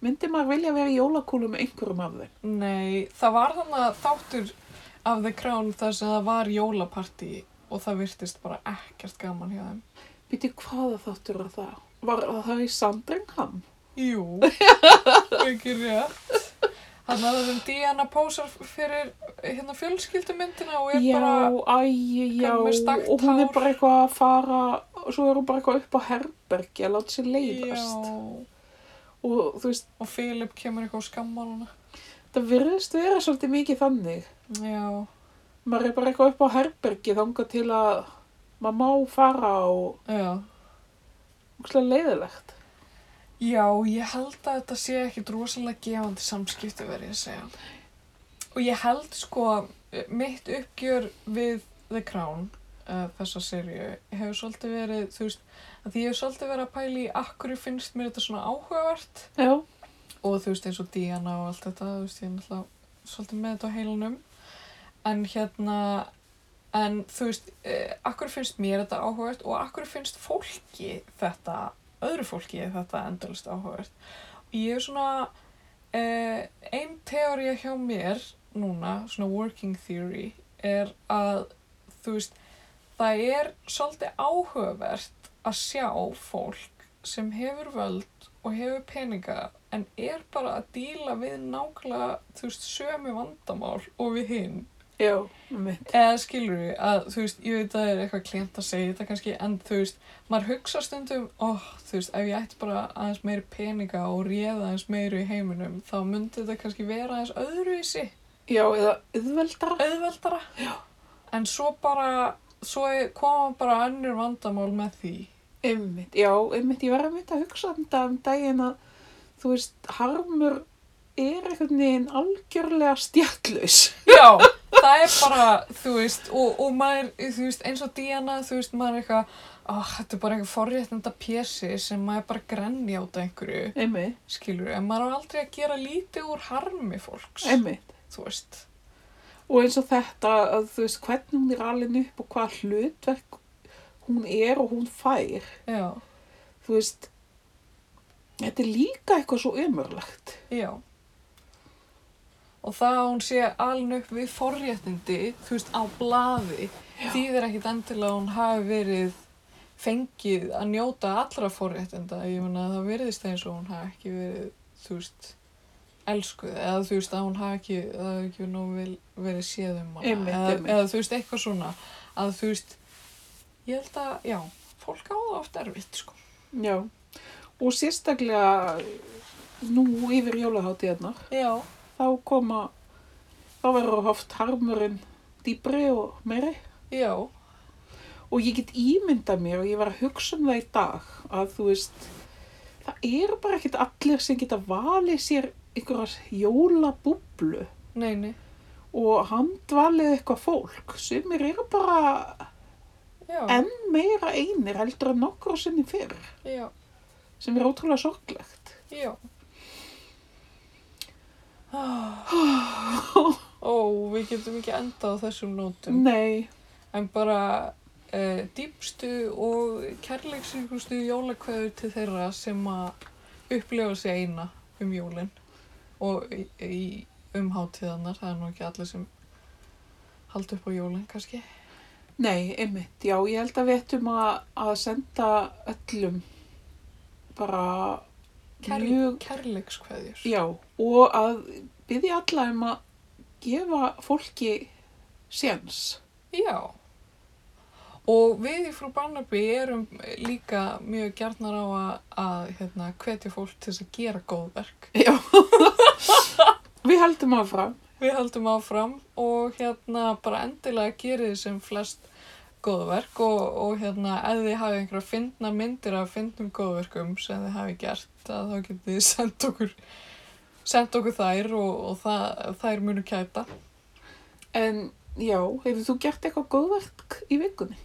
Speaker 2: myndi maður vilja vera í jólakúlu með einhverjum af þeim?
Speaker 1: Nei, það var þannig að þáttur af The Crown þar sem það var jólapartí og það virtist bara ekkert gaman hjá þeim.
Speaker 2: Býti, hvaða þáttur var það? Var það í Sandringham?
Speaker 1: Jú, ekki rétt. Þannig að þeim Diana pósar fyrir hérna fjölskyldumyndina og er
Speaker 2: já,
Speaker 1: bara...
Speaker 2: æ, já,
Speaker 1: með stakt
Speaker 2: og hún er
Speaker 1: hár.
Speaker 2: bara eitthvað að fara, svo er hún bara eitthvað upp á herbergi að láta sér leiðast.
Speaker 1: Já,
Speaker 2: Og þú veist,
Speaker 1: og Philip kemur eitthvað og skammar hana.
Speaker 2: það virðist vera svolítið mikið þannig.
Speaker 1: Já,
Speaker 2: Maður er bara eitthvað upp á herbergi þangað til að maður má fara og
Speaker 1: já.
Speaker 2: úkslega leiðilegt.
Speaker 1: Já, ég held að þetta sé ekkit rosalega gefandi samskipti verið að segja. Og ég held sko eh, mitt uppgjör við The Crown, uh, þessa serju, hefur svolítið verið, þú veist, að því ég hefur svolítið verið að pæla í akkur finnst mér þetta svona áhugavert
Speaker 2: Já,
Speaker 1: og þú veist eins og Diana og allt þetta, þú veist, ég er náttúrulega svolítið með þetta á heilanum. En hérna, En þú veist, eh, akkur finnst mér þetta áhugavert og akkur finnst fólki þetta, öðru fólki þetta endalist áhugavert. Ég er svona, eh, ein teória hjá mér núna, svona working theory, er að, þú veist, það er svolítið áhugavert að sjá fólk sem hefur völd og hefur peninga en er bara að díla við nákvæmlega, þú veist, sömu vandamál og við hinn
Speaker 2: Já, mitt.
Speaker 1: eða skilur við að þú veist, ég veit að það er eitthvað klient að segja þetta kannski en þú veist, maður hugsa stundum oh, þú veist, ef ég ætti bara aðeins meiri peninga og réða aðeins meiri í heiminum þá myndi þetta kannski vera aðeins öðruvísi
Speaker 2: Já, eða yðveldara.
Speaker 1: auðveldara Já. en svo bara, svo er- koma bara önnur vandamál með því
Speaker 2: Einmitt, já, einmitt, ég var einmitt að hugsa um þetta um daginn að, þú veist, harmur er einhvern veginn algjörlega stjallus.
Speaker 1: Já, það er bara, þú veist, og, og maður, þú veist, eins og Diana, þú veist, maður er eitthvað, oh, þetta er bara eitthvað forréttenda pési sem maður er bara að grenja út af einhverju,
Speaker 2: Einmitt,
Speaker 1: skilur, en maður á aldrei að gera lítið úr harmi fólks,
Speaker 2: einmitt.
Speaker 1: þú veist.
Speaker 2: Og eins og þetta að, þú veist, hvernig hún er alveg upp og hvað hlutverk hún er og hún fær.
Speaker 1: Já,
Speaker 2: Þú veist, þetta er líka eitthvað svo umörlegt.
Speaker 1: já. Og það að hún sé aln upp við forréttindi, þú veist, á blaði, þýðir ekkit endilega að hún hafi verið fengið að njóta allra forréttinda, ég meina að það virðist eins og hún hafi ekki verið, þú veist, elskuð, eða þú veist að hún hafi ekki, það hafi ekki nú vel, verið séð um hana,
Speaker 2: Einmitt,
Speaker 1: eða,
Speaker 2: einmitt.
Speaker 1: eða þú veist, eitthvað svona, að þú veist, ég held að, já, fólk á það oft erfitt, sko.
Speaker 2: Já, og sérstaklega nú yfir jólaháttíðarnar,
Speaker 1: Já,
Speaker 2: þá koma, þá verður oft harmurinn dýbri og meiri.
Speaker 1: já,
Speaker 2: Og ég get ímyndað mér og ég var að hugsa um það í dag að þú veist, það eru bara ekkert allir sem geta valið sér einhverjar jólabúblu
Speaker 1: neini,
Speaker 2: og handvalið eitthvað fólk sem eru bara
Speaker 1: já,
Speaker 2: enn meira einir heldur en nokkur sinni fyrr
Speaker 1: já,
Speaker 2: sem er ótrúlega sorglegt.
Speaker 1: já. Ó, við getum ekki endað á þessum nótum.
Speaker 2: Nei,
Speaker 1: En bara uh, dýpstu og kærleiksríkustu jólakveður til þeirra sem að upplifa sig eina um jólinn og í, í, um hátíðarnar. Það er nú ekki allir sem haldi upp á jólinn kannski.
Speaker 2: nei, einmitt, já, ég held að við ættum að, að senda öllum bara
Speaker 1: Kærle
Speaker 2: mjög
Speaker 1: Kærleikskveðjur.
Speaker 2: Já, og að byggja alla um að gefa fólki séns.
Speaker 1: Já. Og við í frú Barnaby erum líka mjög gjarnar á að, að hérna, hvetja fólk til þess að gera góð verk.
Speaker 2: Já. (laughs) Við heldum áfram.
Speaker 1: Við haldum áfram og hérna bara endilega gerir þið sem flest góðverk og, og hérna ef þið hafið einhverja fyndna myndir af fyndnum góðverkum sem þið hafið gert að þá getið þið (laughs) sendt okkur, sendt okkur þær og, og það, þær munu kæta.
Speaker 2: En já, hefur þú gert eitthvað góðverk í vikunni?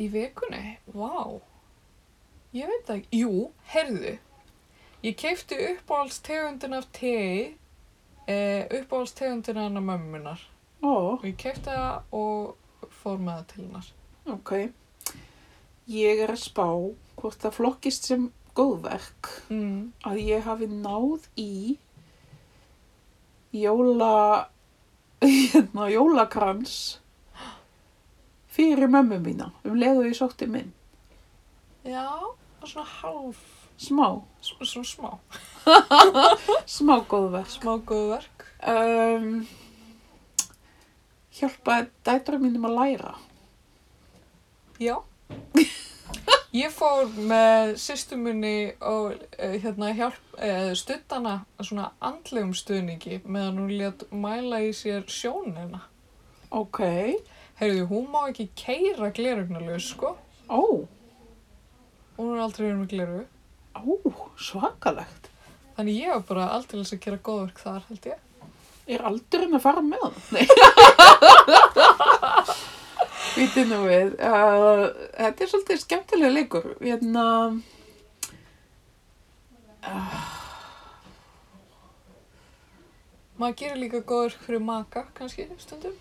Speaker 1: Í vikunni? Vá! Ég veit það ekki. Jú, heyrðu. Ég keipti uppáhaldstegundin af tei, eh, uppáhaldstegundin hennar mömmunar.
Speaker 2: Ó,
Speaker 1: Og ég keipti það og fór með það til hennar.
Speaker 2: ok. Ég er að spá hvort það flokkist sem góðverk
Speaker 1: Mm.
Speaker 2: að ég hafi náð í jóla, hérna, jólakrans fyrir mömmu mína um leið og ég sótti minn.
Speaker 1: Já, svona hálf,
Speaker 2: Smá.
Speaker 1: sv- svona smá.
Speaker 2: Smá góðverk.
Speaker 1: Smá góðverk.
Speaker 2: Um, hjálpaði dætturum mínum að læra.
Speaker 1: Já. (laughs) Ég fór með systumunni og eh, hérna hjálp, eh, stuttana svona andlegum stuðningi meðan hún létt mæla í sér sjónina.
Speaker 2: Ok.
Speaker 1: Heyrðu, hún má ekki keira glerugnalaus, sko.
Speaker 2: Ó,
Speaker 1: Hún er aldrei verið með gleru.
Speaker 2: ó, svakalegt.
Speaker 1: Þannig ég var bara aldrei að gera góðverk þar, held ég.
Speaker 2: Er aldurinn að fara með (laughs) hann? Nei. Víti nú við. Uh, þetta er svolítið skemmtilega leikur. Hérna...
Speaker 1: Maður gerir líka góðverk fyrir maka, kannski, stundum.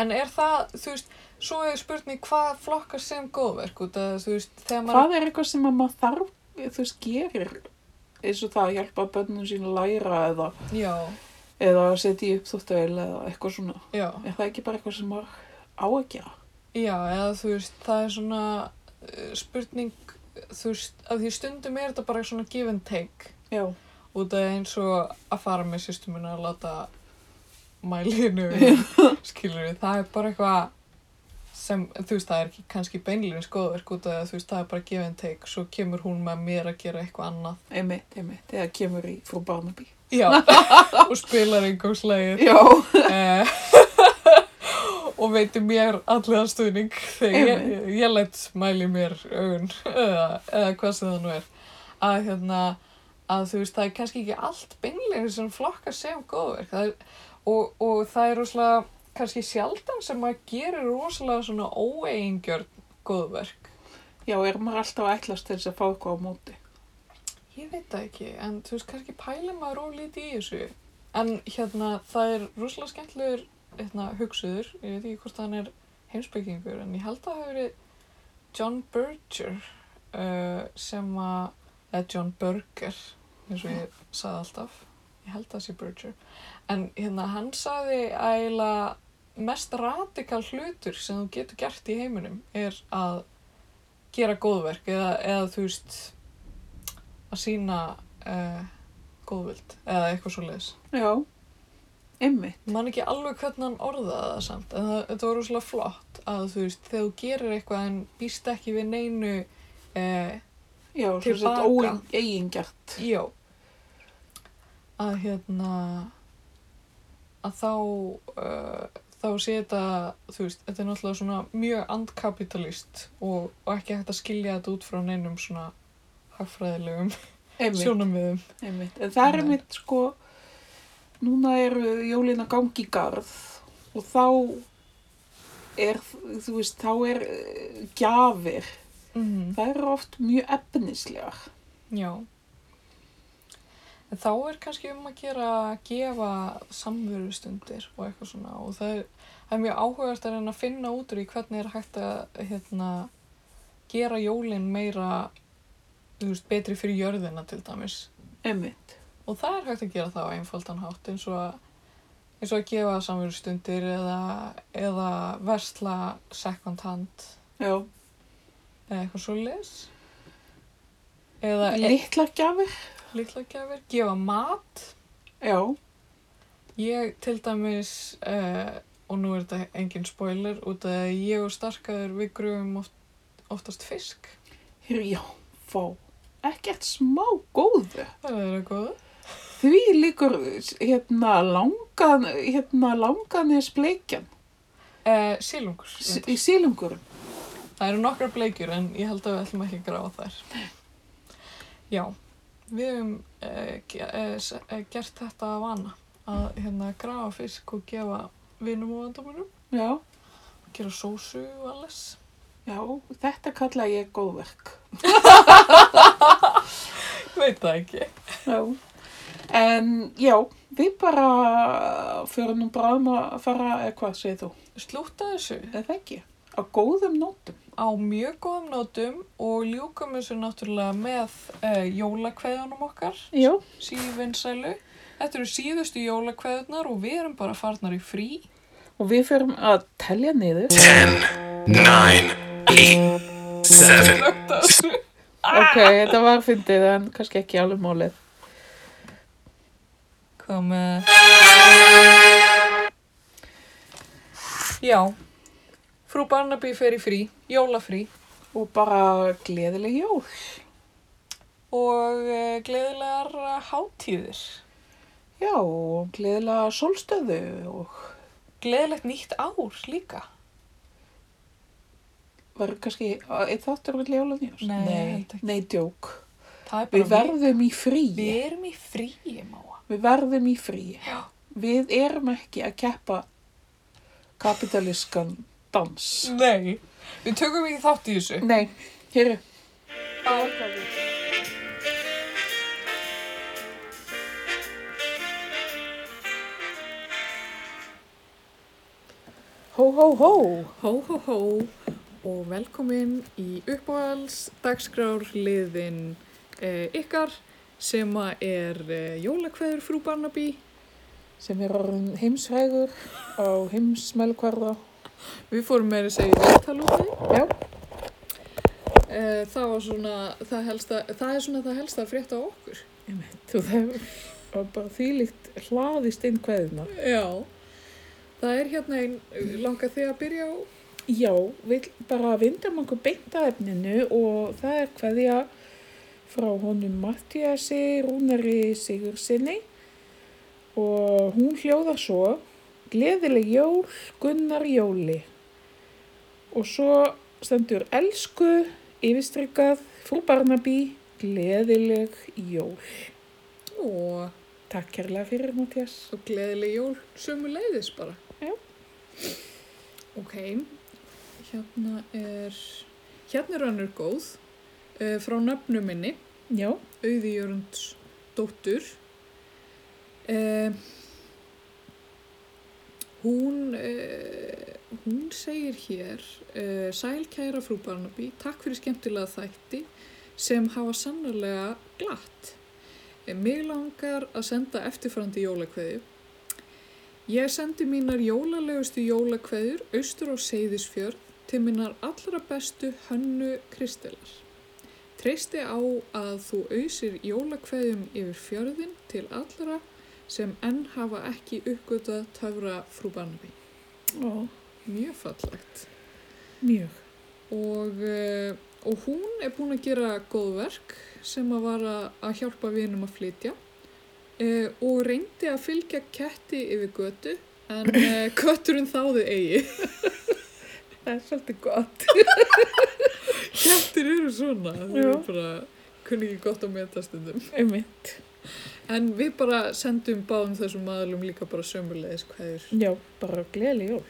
Speaker 1: En er það, þú veist, svo er spurning hvað flokkar sem góðverk út að þú veist, þegar maður...
Speaker 2: Hvað er eitthvað sem að maður þarf, þú veist, gerir eins og það að hjálpa bönnum sín að læra eða,
Speaker 1: Já,
Speaker 2: eða að setja í uppþóttavel eða eitthvað svona.
Speaker 1: já,
Speaker 2: Er það ekki bara eitthvað sem maður á að gera?
Speaker 1: já, eða þú veist, það er svona eh, spurning, þú veist, að því stundum er þetta bara svona give and take
Speaker 2: Já.
Speaker 1: út að eins og að fara með systemina að láta mælinu, skilur við, það er bara eitthvað sem, þú veist, það er ekki kannski beinlýnins góðverk út að þú veist, það er bara give and take, svo kemur hún með mér að gera eitthvað annað.
Speaker 2: Einmitt, einmitt, þegar kemur í frú Barnaby.
Speaker 1: Já, og spilar einhverslægir.
Speaker 2: Já.
Speaker 1: Eh, (laughs) og veitir mér allir stuðning þegar ég, ég, ég lætt mæli mér augun eða, eða hvað sem það nú er að hérna að þú veist það er kannski ekki allt beinlega sem flokkar sem góðverk það er, og, og það er rosalega kannski sjaldan sem maður gerir rosalega svona óeigingjörn góðverk
Speaker 2: Já, er maður alltaf að ætlast til þess að fá eitthvað á móti.
Speaker 1: Ég veit það ekki, en þú veist, kannski pæla maður ólítið í þessu. En hérna, það er rosalega skemmtilegur hérna, hugsuður, ég veit ekki hvort hann er heimsbyggingur, en ég held að það hafi verið John Berger uh, sem að, eða John Burger, eins og ég sagði alltaf, ég held að það sé Berger. En hérna, hann sagði ægilega mest radikal hlutur sem þú getur gert í heiminum er að gera góðverk eða, eða þú veist, að sína uh, góðvild eða eitthvað svo leiðis.
Speaker 2: Já. Einmitt.
Speaker 1: Man ekki alveg hvernig hann orðaði það samt en það, þetta var rosalega flott að þú veist þegar þú gerir eitthvað en býst ekki við neinu uh,
Speaker 2: Já, svo
Speaker 1: Tilbaka.
Speaker 2: sett óeingjart.
Speaker 1: já að hérna að þá uh, þá sé þetta þú veist þetta er náttúrulega svona mjög andkapitalist og, og ekki hægt að skilja þetta út frá neinum svona hagfræðilegum
Speaker 2: Einmitt.
Speaker 1: sjónamiðum.
Speaker 2: Einmitt. En það er
Speaker 1: Nei.
Speaker 2: einmitt sko, núna eru jólin að gangi í garð og þá er, þú veist, þá er eh, gjafir.
Speaker 1: Mm.
Speaker 2: Það eru oft mjög efnislegar.
Speaker 1: Já. En þá er kannski um að gera að gefa samverustundir og eitthvað svona og það er, það er mjög áhugast að reyna að finna út úr í hvernig er hægt að hérna, gera jólin meira þú veist, betri fyrir jörðina til dæmis
Speaker 2: Einmitt.
Speaker 1: og það er hægt að gera það á einfaldan hátt eins og að, eins og að gefa samverustundir eða, eða versla second hand
Speaker 2: Já.
Speaker 1: eða eitthvað svo leis eða e
Speaker 2: Littlar gjafir.
Speaker 1: litla gefir, gefa mat
Speaker 2: Já.
Speaker 1: Ég til dæmis, uh, og nú er þetta engin spoiler, út að ég og starkaður við gröfum oft, oftast fisk.
Speaker 2: Hér, já. Fá. Ekkert smá góðu.
Speaker 1: Það er það góða.
Speaker 2: Því líkur, hérna, langan, hérna, langan er spleikjan.
Speaker 1: Uh, sílungur.
Speaker 2: S í sílungurum.
Speaker 1: Það eru nokkra bleikjur en ég held að við ætlum ekki að grafa þær. Já, við höfum uh, uh, gert þetta að vana að hérna, grafa fisk og gefa vinum og vandamunum,
Speaker 2: Já.
Speaker 1: gera sósu og alles.
Speaker 2: Já. Þetta kalla ég góðverk.
Speaker 1: Veit það ekki.
Speaker 2: Já. En já, við bara fyrir nú bráðum að fara, eða hvað segir þú,
Speaker 1: Slúta þessu.
Speaker 2: eða ekki, á góðum nótum.
Speaker 1: á mjög góðum nótum og ljúkum þessu náttúrulega með uh, jólakveðunum okkar,
Speaker 2: Já.
Speaker 1: sívinsælu. Þetta eru síðustu jólakveðunar og við erum bara farnar í frí.
Speaker 2: Og við fyrir að telja niður.
Speaker 3: 10, 9, 8, 7,
Speaker 1: Slökta þessu. Ah!
Speaker 2: Ok, þetta var fyndið en kannski ekki alveg málið.
Speaker 1: Komið. Já, frú Barnaby fer í frí, jólafrí
Speaker 2: Og bara gleðileg jól.
Speaker 1: og uh, gleðilegar hátíðir.
Speaker 2: Já, og gleðilega sólstöðu og
Speaker 1: Gleðilegt nýtt ár líka.
Speaker 2: verður kannski, eitt þáttur við jólan jós?
Speaker 1: Nei, ég
Speaker 2: nei,
Speaker 1: held ekki.
Speaker 2: nei, djók.
Speaker 1: Það er
Speaker 2: Við
Speaker 1: bara
Speaker 2: verðum í
Speaker 1: við, við
Speaker 2: fríi.
Speaker 1: erum í fríi, máa.
Speaker 2: Við verðum í fríi.
Speaker 1: Já.
Speaker 2: Við erum ekki að keppa kapitalískan dans.
Speaker 1: Nei, við tökum ekki þátt í þessu.
Speaker 2: Nei, hér Hó, hó, hó.
Speaker 1: Hó, hó, hó og velkomin í uppáhalds dagskrárliðin eh, ykkar sem að er eh, jólakveður frú Barnaby.
Speaker 2: Sem er orðin heimsfrægur á heimsmælkvarða.
Speaker 1: Við fórum með að segja viðtal úr því.
Speaker 2: Já.
Speaker 1: Eh, það var svona það helsta, það er svona það helsta að frétta á okkur.
Speaker 2: Þú þegar var bara þýlíkt hlaðist inn kveðina.
Speaker 1: Já, það er hérna einn, langar þig að byrja á?
Speaker 2: Já, við bara vindum okkur beint að efninu og það er kveðja frá honum Mattiasi Rúnari Sigursinni og hún hljóðar svo Gleðileg jól Gunnar Jóli og svo stendur Elsku yfirstrykkað frú Barnaby Gleðileg jól.
Speaker 1: Ó,
Speaker 2: Takk kærlega fyrir Mattias.
Speaker 1: og gleðileg jól sömu leiðis bara.
Speaker 2: Já.
Speaker 1: Ok, hérna er, hérna er önnur góð uh, frá nafnu minni,
Speaker 2: Já,
Speaker 1: Auði Jörgunds dóttur. Uh, hún, uh, hún segir hér, uh, sæl kæra frú Barnaby, takk fyrir skemmtilega þætti sem hafa sannarlega glatt. Eh, Mig langar að senda eftirfarandi jólakveðju. Ég sendi mínar jólalegustu jólakveðjur austur á Seyðisfjörð til mínar allra bestu hönnu Kristelar. Treysti á að þú ausir jólakveðjum yfir fjörðin til allra sem enn hafa ekki uppgötað töfra frú Barnaby.
Speaker 2: Ó,
Speaker 1: Mjög fallegt.
Speaker 2: mjög.
Speaker 1: Og, eh, og hún er búin að gera góð verk sem að var að- að hjálpa vinum að flytja eh, og reyndi að fylgja ketti yfir götu en
Speaker 2: (laughs)
Speaker 1: eh, kötturinn þáði eigi.
Speaker 2: Það er svolítið gott.
Speaker 1: Kettir eru svona, þau
Speaker 2: Já.
Speaker 1: eru bara, kunni ekki gott að meta stundum.
Speaker 2: Einmitt.
Speaker 1: En við bara sendum báðum þessum aðlum líka bara sömulegis hverjur.
Speaker 2: Já, bara gleðileg jól.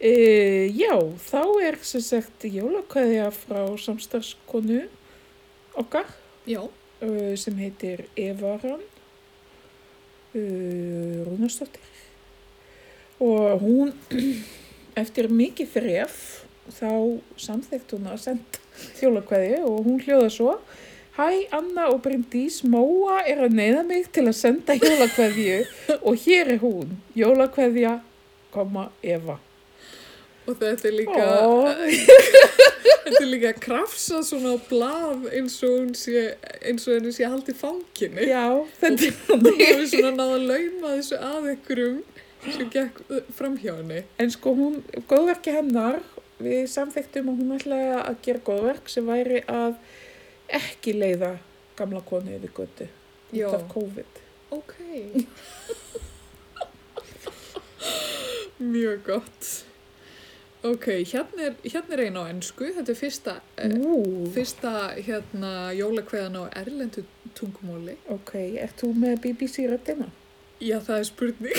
Speaker 2: E, já, þá er sem sagt jólakveðja frá samstarfskonu okkar
Speaker 1: Já,
Speaker 2: e, sem heitir Evaran e, Rúnastóttir og hún (clears throat) eftir mikið þref þá samþekkt hún að senda jólakveðju og hún hljóða svo Hæ Anna og Bryndís, Móa er að neyða mig til að senda jólakveðju og hér er hún, jólakveðja, komma Eva.
Speaker 1: og þetta er líka,
Speaker 2: Ó.
Speaker 1: þetta er líka krafsað svona á blað eins og hún sé, eins og henni sé haldið fanginni.
Speaker 2: Já, þetta er
Speaker 1: Hún
Speaker 2: hann.
Speaker 1: hefur svona náða að lauma þessu að ykkurum sem gekk uh, fram hjá henni.
Speaker 2: En sko hún, góðverki hennar, við samþektum að hún ætlaði að gera góðverk sem væri að ekki leiða gamla konu yfir götu
Speaker 1: Já.
Speaker 2: út af COVID.
Speaker 1: Ok. (laughs) Mjög gott. Ok, hérna er, hérna er eina á ennsku. Þetta er fyrsta, uh,
Speaker 2: Ú,
Speaker 1: fyrsta hérna, jólakveðan á erlendu tungumóli.
Speaker 2: ok, ert þú með BBC-röddina?
Speaker 1: Já, það er spurning.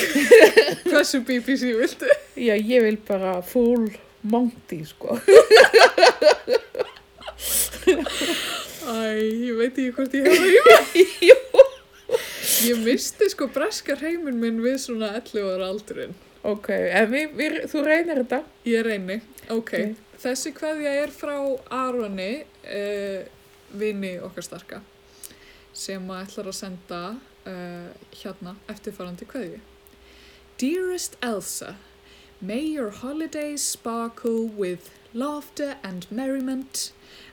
Speaker 1: Hversu BBC viltu?
Speaker 2: Já, ég vil bara full Monty, sko.
Speaker 1: Æ, ég veit ekki hvort ég hefði í mig. Ég misti sko breska hreiminn minn við svona 11 ára aldurinn.
Speaker 2: Ok, en við, við, þú reynir þetta.
Speaker 1: Ég reyni. Ok,
Speaker 2: Ok.
Speaker 1: þessi kveðja er frá Aroni, uh, vini okkar starka, sem að ætlar að senda uh, hérna eftirfarandi kveðju. Dearest Elsa, may your holidays sparkle with laughter and merriment,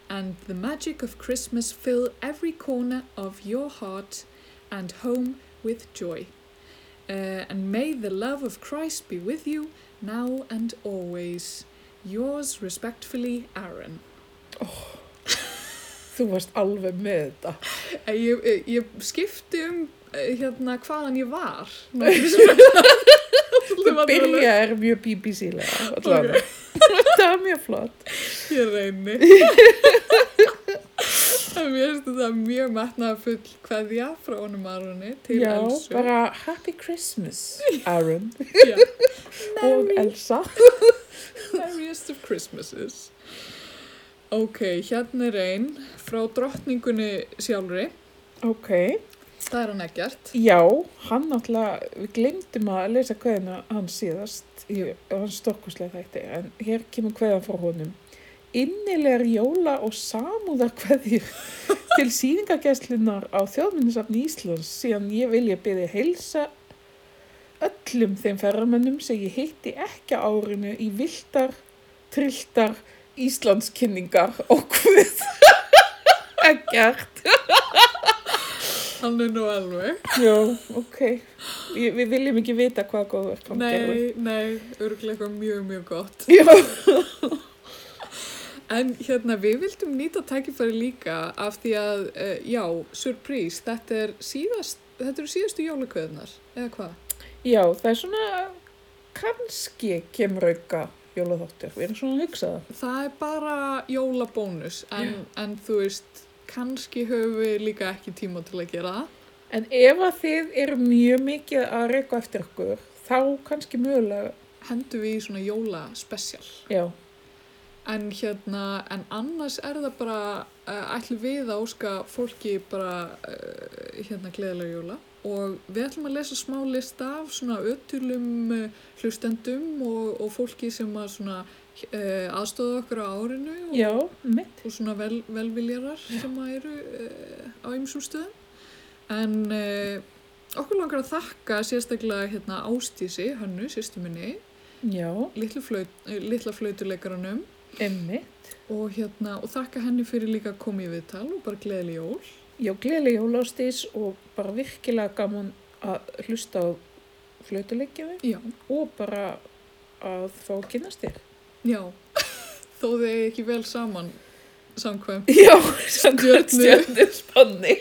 Speaker 1: and the magic of Christmas fill every corner of your heart and home with joy. Uh, and may the love of Christ be with you now and always. Yours respectfully, Aaron.
Speaker 2: Þú varst alveg með (laughs) þetta.
Speaker 1: Eh, Ég, ég, ég skipti um eh, hérna hvaðan ég var.
Speaker 2: Þú
Speaker 1: Þú
Speaker 2: byrjar mjög BBC-lega, allavega. (laughs) það er mjög flott.
Speaker 1: Ég reyni. (laughs) En mér finnst þetta mjög metnaðafull kveðja frá honum Aroni til
Speaker 2: Já,
Speaker 1: Elsu.
Speaker 2: bara Happy Christmas, Aaron
Speaker 1: (laughs) Já.
Speaker 2: og Elsa.
Speaker 1: Merriest of Christmases. Ok, hérna er einn frá drottningunni sjálfri.
Speaker 2: Ok,
Speaker 1: Það er hann ekkert.
Speaker 2: Já, hann náttúrulega, við glemdum að lesa kveðina hans síðast í hans stórkoslega þætti, en hér kemur kveðan frá honum. Innilegar jóla og samúðar kveðjur til síningageslunar á þjóðminnisafni Íslands síðan ég vilja byrja heilsa öllum þeim ferramönnum sem ég hitti ekki á árinu í viltar, trilltar, Íslandskinningar og hvað (laughs) ekkert.
Speaker 1: Hann er nú alveg.
Speaker 2: Já, ok. Ég, við viljum ekki vita hvað góðverk hann gerði.
Speaker 1: Nei, nei, örglega eitthvað mjög, mjög gott.
Speaker 2: Já.
Speaker 1: En hérna, við vildum nýta tækifæri líka af því að, uh, já, surprise, þetta er síðast, þetta eru síðastu jólakveðnar, eða hvað?
Speaker 2: Já, það er svona, kannski kemur auka jólaþáttur. Við erum svona að hugsa það.
Speaker 1: Það er bara jólabónus, en, en þú veist, kannski höfum við líka ekki tíma til að gera það.
Speaker 2: En ef að þið eru mjög mikið að reyka eftir okkur, þá kannski mögulega,
Speaker 1: Hendum við í svona jólaspecial.
Speaker 2: já,
Speaker 1: En hérna, en annars er það bara, uh, ætlum við að óska fólki bara, uh, hérna, gleðilega jóla. Og við ætlum að lesa smá lista af svona ötulum uh, hlustendum og, og fólki sem að svona uh, aðstóða okkur á árinu og,
Speaker 2: já, mitt.
Speaker 1: og svona vel, velviljarar sem að eru uh, á ymsum stöðum. En uh, okkur langar að þakka sérstaklega hérna Ástísi, Hönnu, sýstu minni,
Speaker 2: Já,
Speaker 1: litlu flaut, eh, litla flautuleikaranum
Speaker 2: emmitt.
Speaker 1: og hérna, og þakka henni fyrir líka að koma í viðtal og bara gleðileg jól
Speaker 2: Já, gleðileg jólastís og bara virkilega gaman að hlusta á flötuleikjum
Speaker 1: já,
Speaker 2: og bara að fá að kynast þér.
Speaker 1: já (laughs) þó þau eigi ekki vel saman samkvæm,
Speaker 2: Já, (laughs) samkvæmt
Speaker 1: Stjörnu.
Speaker 2: stjörnuspanni.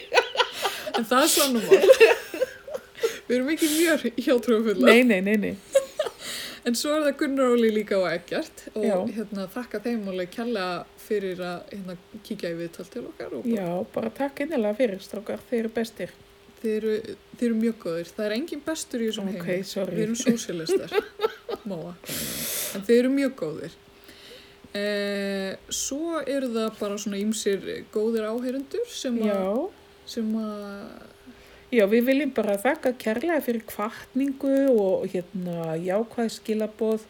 Speaker 1: en það er svona mál
Speaker 2: (laughs)
Speaker 1: við erum ekki mjög hjátrúfulla
Speaker 2: Nei, nei, nei, nei.
Speaker 1: en svo er það Gunnar Óli líka og Eggert og
Speaker 2: Já.
Speaker 1: hérna þakka þeim alveg kjalla fyrir að hérna, kíkja í viðtal til okkar og bara,
Speaker 2: Já, bara takk innilega fyrir strákar, þeir eru bestir.
Speaker 1: þeir, eru, þeir eru mjög góðir það er engin bestur í þessum
Speaker 2: Ok,
Speaker 1: heimi
Speaker 2: sorry.
Speaker 1: Við erum sósialistar, Móa. En þeir eru mjög góðir. E, svo eru það bara svona ímsir góðir áherendur sem að,
Speaker 2: Já,
Speaker 1: sem að,
Speaker 2: já, við viljum bara þakka kærlega fyrir kvartningu og hérna jákvæð skilaboð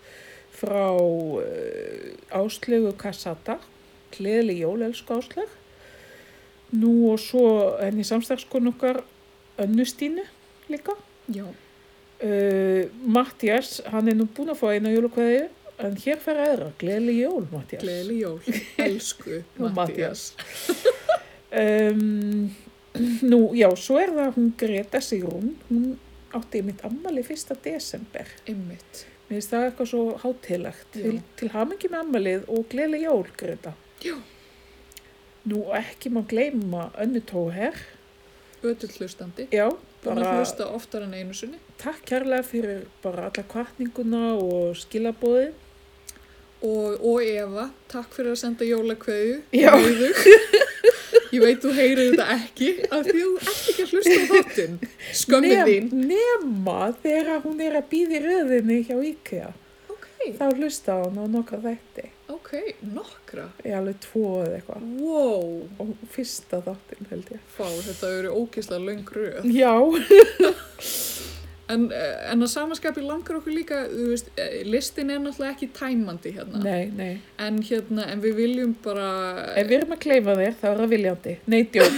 Speaker 2: frá uh, áslögu Kassata, gleðileg jól, elsku áslög. Nú og svo henni samstarfskon okkar Önnustínu líka.
Speaker 1: já,
Speaker 2: Uh, Mattias, hann er nú búinn að fá eina jólukveðju, en hér fer aðra, gleðileg jól, Mattias.
Speaker 1: gleðileg jól. Elsku,
Speaker 2: (laughs) Og
Speaker 1: Mattias.
Speaker 2: Um, nú, já, svo er það hún Greta Sigrún, hún átti mitt ammali 1. desember.
Speaker 1: Einmitt.
Speaker 2: Mér finnst það eitthvað svo hátilegt.
Speaker 1: Já.
Speaker 2: Til, til hamingi með ammalið og gleðileg jól, Greta.
Speaker 1: Já.
Speaker 2: Nú, og ekki má gleyma önnu tóher.
Speaker 1: Ötull hlustandi.
Speaker 2: Já,
Speaker 1: Búin að
Speaker 2: bara
Speaker 1: hlusta oftar en einu sinni.
Speaker 2: takk kærlega fyrir bara alla kvartninguna og skilabóðin.
Speaker 1: Og, og Eva, takk fyrir að senda jólakveðju.
Speaker 2: (laughs) Já.
Speaker 1: Nauðug. Ég veit þú heyrir þetta ekki, af því þú ert ekki að hlusta á þáttinn. Skömmið þín.
Speaker 2: Nema þegar hún er að býði röðinni hjá IKEA.
Speaker 1: Ok,
Speaker 2: Þá hlusta hún á nokkra þætti.
Speaker 1: ok, nokkra.
Speaker 2: Ég alveg tvo eða eitthvað.
Speaker 1: Wow,
Speaker 2: og fyrsta þáttin held ég.
Speaker 1: fá, þetta eru ógislega löng röð.
Speaker 2: Já,
Speaker 1: En, eh, en að samaskapi langar okkur líka, þú veist, eh, listin er náttúrulega ekki tæmandi hérna.
Speaker 2: nei, nei.
Speaker 1: En hérna, en við viljum bara,
Speaker 2: Ef við erum að kleifa þér, þá er það viljandi. Nei, djók.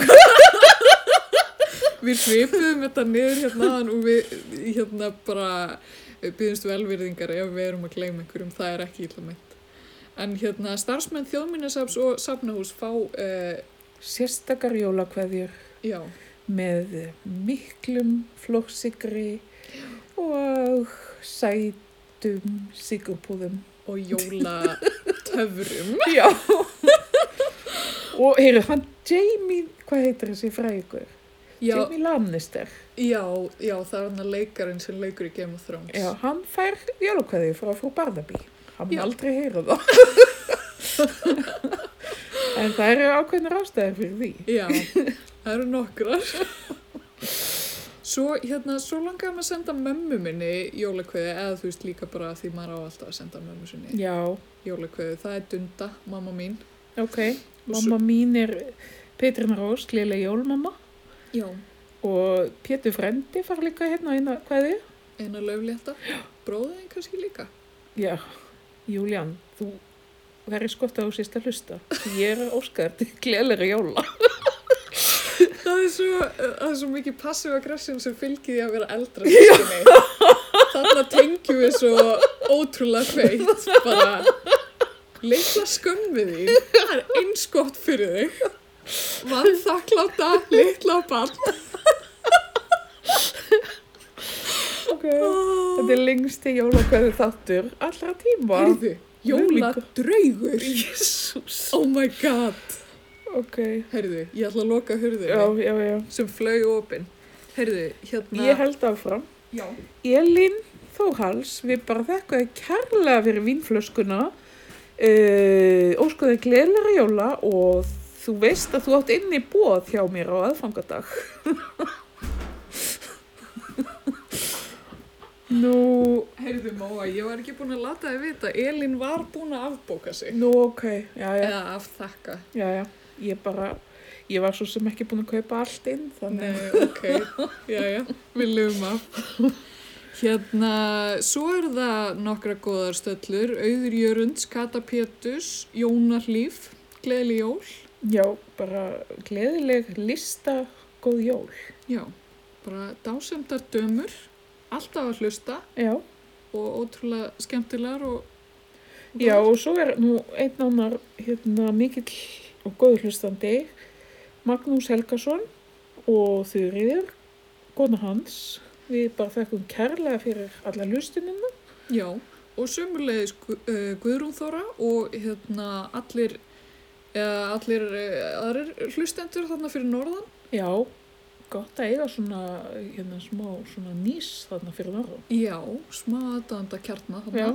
Speaker 1: við svipum þetta niður hérna áðan og við hérna bara byggumst velvirðingar ef við erum að gleyma einhverjum, það er ekki illa meint. En hérna, starfsmenn þjóðminnesafs og safnahús fá, uh,
Speaker 2: Sérstakar jólakveðjur
Speaker 1: já,
Speaker 2: með miklum flóksikri og sætum sigurpúðum.
Speaker 1: og
Speaker 2: (laughs)
Speaker 1: jólatöfrum.
Speaker 2: Já. og heyrðu, hann Jamie, hvað heitir þessi frægur?
Speaker 1: Já,
Speaker 2: Jamie Lannister.
Speaker 1: já, já, það er hann að leikarinn sem leikur í Game of Thrones.
Speaker 2: Já, hann fær jólakveðju frá frú Barnaby. Hann
Speaker 1: Já.
Speaker 2: mun aldrei heyra það. (laughs) en það eru ákveðnir ástæðir fyrir því.
Speaker 1: Já, það eru nokkrar. Svo, hérna, svo langaði maður að senda mömmu minni jólakveði eða þú veist líka bara því maður á alltaf að senda mömmu sinni
Speaker 2: Já,
Speaker 1: jólakveði. Það er Dunda, mamma mín.
Speaker 2: ok.
Speaker 1: Og svo-
Speaker 2: Mamma mín er Petrin Rós, lélega jólmamma
Speaker 1: Já.
Speaker 2: og Pétur Frendi fara líka hérna inn að hvaði.
Speaker 1: Einar löflétta, bróðin kannski líka.
Speaker 2: Já, Júlían, þú verður skott að þú sést að hlusta. Ég er óskar til gleðlega jóla.
Speaker 1: Það er svo, það er svo mikið passive aggression sem fylgir því að vera
Speaker 2: (laughs)
Speaker 1: eldra sýstinni. Þarna tengjum við svo ótrúlega feitt, bara leikla skömmið því. Það er eins gott fyrir þig. Vann þakkláta, litla barn.
Speaker 2: Ok. Þetta er lengsti jólakveðu þáttur allra tíma.
Speaker 1: Heyrðu, jóla
Speaker 2: Jésús.
Speaker 1: Oh my god.
Speaker 2: Ok,
Speaker 1: Heyrðu, ég ætla að loka hurðinni
Speaker 2: já, já, já.
Speaker 1: sem flög opinn. Heyrðu, hérna...
Speaker 2: Ég held áfram.
Speaker 1: Já.
Speaker 2: Elin Þórhals, við bara þekkum þið kærlega fyrir vínflöskuna, uh, óskuðu þér gleðilega jóla og þú veist að þú átt inn í bóð hjá mér á aðfangadag. (laughs) nú,
Speaker 1: Heyrðu Móa, ég var ekki búin að lata þið vita, Elin var búin að afbóka sig.
Speaker 2: nú ok, já, já,
Speaker 1: Eða afþakka.
Speaker 2: já, já, ég bara, ég var svo sem ekki búin að kaupa allt inn, þannig.
Speaker 1: Nei, (laughs) ok, já, já, við lögum af. Hérna, svo er það nokkra góðar stöllur, Auður Jörunds, Kata Péturs, Jónar Líf, Gleðli Jól.
Speaker 2: Já, bara gleðileg lista, góð jól.
Speaker 1: Já, bara dásemdar dömur, alltaf að hlusta
Speaker 2: Já.
Speaker 1: og ótrúlega skemmtilegar og... og
Speaker 2: Já, og svo er nú einn annar hérna, mikill og góður hlustandi, Magnús Helgason og Þuríður, kona hans. Við bara þekkum kærlega fyrir alla hlustunina.
Speaker 1: Já, og sömulegis Guðrúnþóra og hérna allir, eða allir eh, aðrir hlustendur þarna fyrir norðan.
Speaker 2: Já, gott að eiga svona, hérna, smá svona nýs þarna fyrir norðan.
Speaker 1: Já, smá aðdanda kjarnar þarna.
Speaker 2: Já,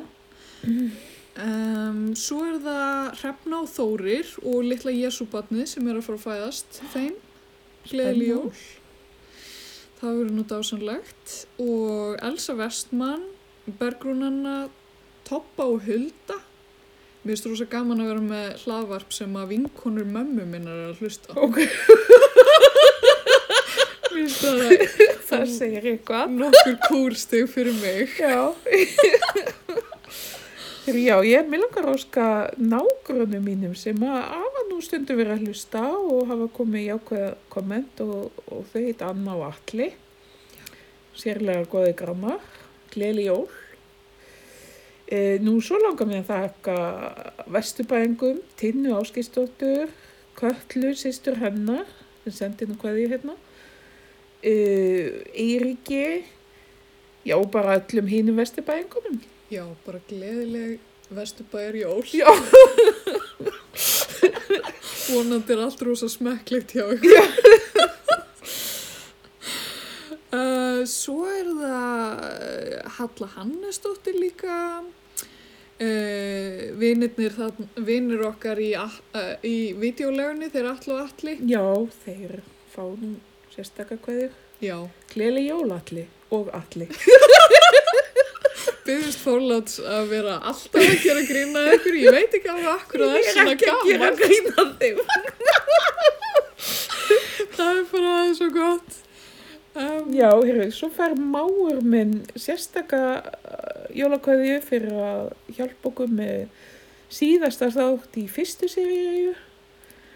Speaker 1: Em, svo er það Hrefna og Þórir og litla Jésúbarnið sem er að fara að fæðast þeim. Gleðli jól. Það verður nú dásanlegt. Og Elsa Vestmann, Bergrúnanna, Toppa og Hulda. Mér finnst rosa gaman að vera með hlaðvarp sem að vinkonur mömmu minnar er að hlusta. á.
Speaker 2: Ok.
Speaker 1: (laughs) Mér finnst það
Speaker 2: (laughs) það segir eitthvað.
Speaker 1: nokkur kúrstig fyrir mig.
Speaker 2: Já. Heyrðu, Já, ég mér langar að óska nágrunum mínum sem að hafa nú stundum verið að hlusta og hafa komið jákvæða komment og, og þau heit Anna og Alli. Sérlega góði grammar, gleli jól. E, nú svo langar mér að þakka vesturbæringum, Tinnu Áskistóttur, Köllu, sýstur hennar, sem sendi nú hvað ég hérna, e, Eiríki, Já, bara öllum hínum vesturbæingunum.
Speaker 1: Já, bara gleðileg vesturbæjar jól.
Speaker 2: Já.
Speaker 1: (laughs) Vonandi er allt rosa smekklegt hjá ykkur. (laughs) Uh, svo er það eh, Halla Hannesdóttir líka, uh, vinirnir, vinir okkar í, uh, í videolegunni, þeir allu og alli.
Speaker 2: Já, þeir fá nú sérstakar kveðir.
Speaker 1: Já,
Speaker 2: Gleðileg jól allir og allir.
Speaker 1: byggðist fórláts að vera alltaf að gera grína ykkur, ég veit ekki alveg akkur það er svona gaman.
Speaker 2: grína þeim.
Speaker 1: Það er bara svo gott. Um,
Speaker 2: Já, hérru, svo fær máur minn sérstakar jólakveðju fyrir að hjálpa okkur með síðasta þátt í fyrstu seríu.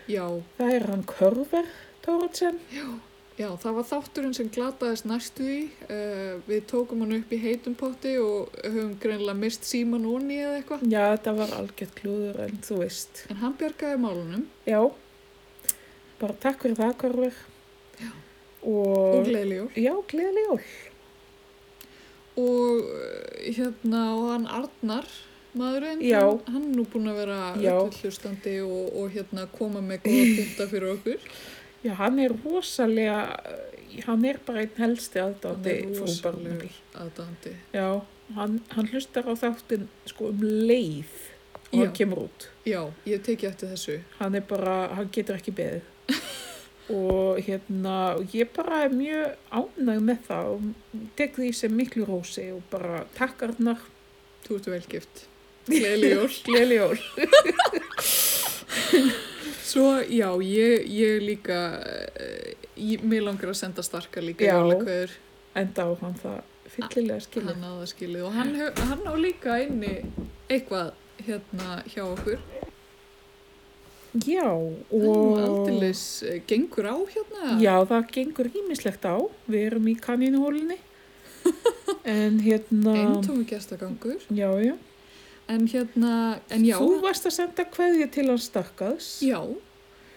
Speaker 1: já,
Speaker 2: Það er hann Körver Tóratsen.
Speaker 1: já, það var þátturinn sem glataðist næstu í. Uh, við tókum hann upp í heitum potti og höfum greinlega mist síman onni eða eitthvað.
Speaker 2: Já, þetta var algjört klúður en þú veist.
Speaker 1: En hann bjargaði málunum
Speaker 2: Já, bara takk fyrir það Körver.
Speaker 1: og
Speaker 2: Og,
Speaker 1: gleðilegur.
Speaker 2: Já, gleðileg jól.
Speaker 1: Og eh, hérna, og hann Arnar, maðurinn,
Speaker 2: Já.
Speaker 1: hann, hann er nú búinn að vera
Speaker 2: Já.
Speaker 1: upphustandi og, og hérna koma með góða pynta fyrir okkur.
Speaker 2: Já, hann er rosalega, eh, hann er bara einn helsti aðdátti frú Barnaby.
Speaker 1: aðdandi.
Speaker 2: Já, hann, hann hlustar á þáttinn sko um leið og
Speaker 1: Já.
Speaker 2: hann kemur út.
Speaker 1: Já, ég teki eftir þessu.
Speaker 2: Hann er bara, hann getur
Speaker 1: (laughs)
Speaker 2: ekki beðið. og hérna, og ég bara er mjög ánægð með það og tek því sem miklu rósi og bara takk Arnar,
Speaker 1: Þú ert velgift. Gleðileg jól.
Speaker 2: gleðileg jól.
Speaker 1: Svo, já, ég, ég líka, eh, ég, mér langar að senda starka líka
Speaker 2: Já.
Speaker 1: jólakveður
Speaker 2: Enda á hann það fyllilega skilja.
Speaker 1: hann á það skilið og hann, hef, hann á líka inni eitthvað hérna hjá okkur
Speaker 2: Já,
Speaker 1: og
Speaker 2: og...
Speaker 1: aldeilis eh, gengur á hérna
Speaker 2: Já, það gengur ímislegt á. Við erum í kanínuhólinni.
Speaker 1: (laughs)
Speaker 2: En hérna...
Speaker 1: eintómi gestagangur
Speaker 2: Já, já.
Speaker 1: en hérna, en já,
Speaker 2: Þú varst að senda kveðja til hans stakkaðs.
Speaker 1: já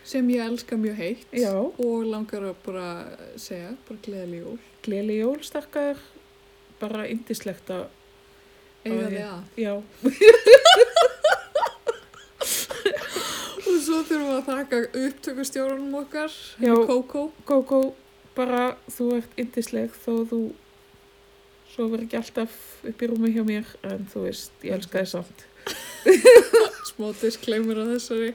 Speaker 1: sem ég elska mjög heitt
Speaker 2: Já,
Speaker 1: og langar að bara segja, bara gleðileg jól
Speaker 2: gleli jól stakkaðar. Bara indislegt að...
Speaker 1: eiga
Speaker 2: Æ.
Speaker 1: þið að
Speaker 2: Já,
Speaker 1: og svo þurfum við að þakka upptökustjórunum okkar
Speaker 2: Já.
Speaker 1: Kókó
Speaker 2: Gógó, bara þú ert yndisleg þó þú sofur ekki alltaf upp í rúmi hjá mér en þú veist,
Speaker 1: Mm.
Speaker 2: ég elska þið samt.
Speaker 1: smá disclaimer á þessari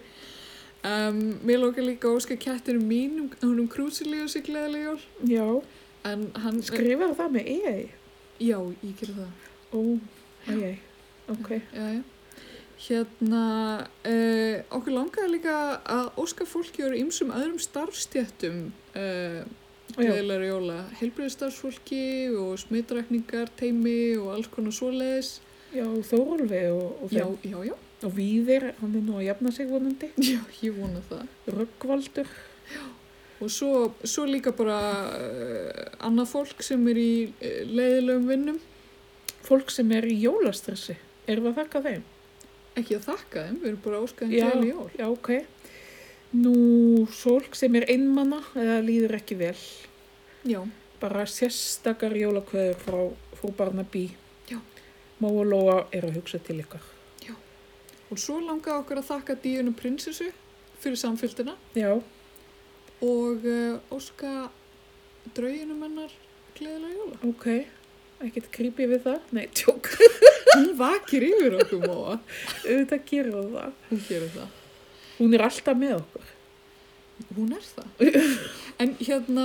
Speaker 1: um, mér lókar líka að óska kettinu mínum húnum krúsilíu sig gleðileg jól
Speaker 2: Já,
Speaker 1: en hann
Speaker 2: skrifaðu það með EI?
Speaker 1: já, ég gerir það
Speaker 2: Ó, EI, ok.
Speaker 1: já, já. hérna uh, okkur langaði líka að óska fólki og ímsum öðrum starfstjættum uh,
Speaker 2: Já,
Speaker 1: gleðilegur jóla helbriðstarfsfólki og smittrækningar teimi og alls konar svoleiðis
Speaker 2: já Þórólfi og, og,
Speaker 1: já,
Speaker 2: þeim.
Speaker 1: já, (laughs) já,
Speaker 2: og Víðir, hann er nú að jafna sig vonandi.
Speaker 1: já, ég vona það
Speaker 2: Röggvaldur,
Speaker 1: Og svo, svo líka bara uh, annað fólk sem er í uh, leiðilegum vinnum,
Speaker 2: fólk sem er í jólastressi, erum við að þakka þeim?
Speaker 1: ekki að þakka þeim, við erum bara áskaðum
Speaker 2: Já.
Speaker 1: gleðileg jól.
Speaker 2: Já, ok. Nú, fólk sem er einmana eða líður ekki vel,
Speaker 1: Já,
Speaker 2: bara sérstakar jólakveður frá frú Barnaby.
Speaker 1: Já.
Speaker 2: Má og Lóa er að hugsa til ykkar.
Speaker 1: og svo langaði okkur að þakka díunum prinsessu fyrir samfylgdina
Speaker 2: Já,
Speaker 1: og uh, óska drauginum hennar gleðilega jóla.
Speaker 2: ok. Ekkert creepy við það. Nei, tjók.
Speaker 1: Hún vakir yfir okkur móa.
Speaker 2: Auðvitað gerir hún það.
Speaker 1: Hún gerir það.
Speaker 2: Hún er alltaf með okkur.
Speaker 1: Hún er það.
Speaker 2: (laughs)
Speaker 1: En hérna,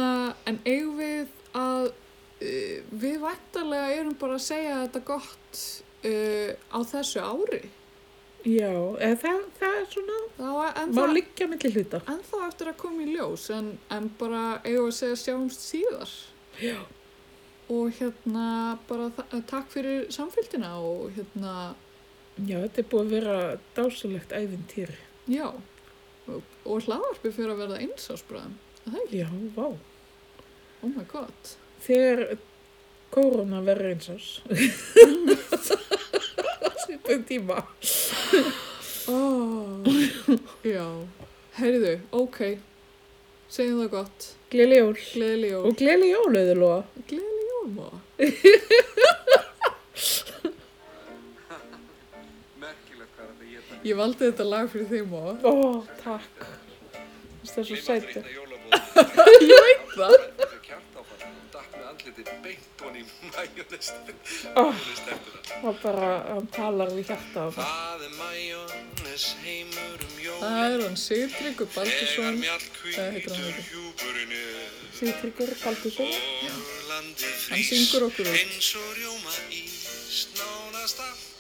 Speaker 1: en eigum við að, uh, við væntalega erum bara að segja þetta gott uh, á þessu ári.
Speaker 2: Já, eða það, það er svona,
Speaker 1: Þá, en,
Speaker 2: má
Speaker 1: það,
Speaker 2: liggja milli hluta.
Speaker 1: en það eftir að koma í ljós en, en bara eigum við að segja sjáumst síðar
Speaker 2: Já.
Speaker 1: og hérna bara þa- takk fyrir samfélgina og hérna
Speaker 2: Já, þetta er búið að vera dásalegt ævintýri.
Speaker 1: já og, og hlaðarpi fyrir að verða einsásbræðum það er ekki,
Speaker 2: Já, vá.
Speaker 1: oh my god
Speaker 2: Þegar korona verður eins ás. (laughs) Svipum tíma.
Speaker 1: oh, já, heyrðu, ok segjum það gott,
Speaker 2: Gleili jól.
Speaker 1: gleðileg jól
Speaker 2: Og gleili jól, auður Lóa.
Speaker 1: gleðileg jól má
Speaker 4: merkilegt hvað þetta geta
Speaker 1: ég valdi þetta lag fyrir þig má
Speaker 2: Ó, takk. Það er svo sæti.
Speaker 4: Ég veit
Speaker 1: það.
Speaker 4: Kjartáfall, hún datt með andlitið beint honum í majónestin.
Speaker 2: Oh. Það bara, hann talar við hjarta á það.
Speaker 4: Það er majónes heimur um
Speaker 1: það
Speaker 4: jólin.
Speaker 1: er hann Sigtryggur
Speaker 4: Þegar
Speaker 1: Baldursson
Speaker 4: mjallhvítur
Speaker 1: Hvað heitir hann ekki?
Speaker 4: hjúpurinn er
Speaker 2: Sigtryggur Baldursson.
Speaker 4: og landið
Speaker 1: Hann
Speaker 4: frýs
Speaker 1: syngur okkur út.
Speaker 4: eins og rjóma ís nánast allt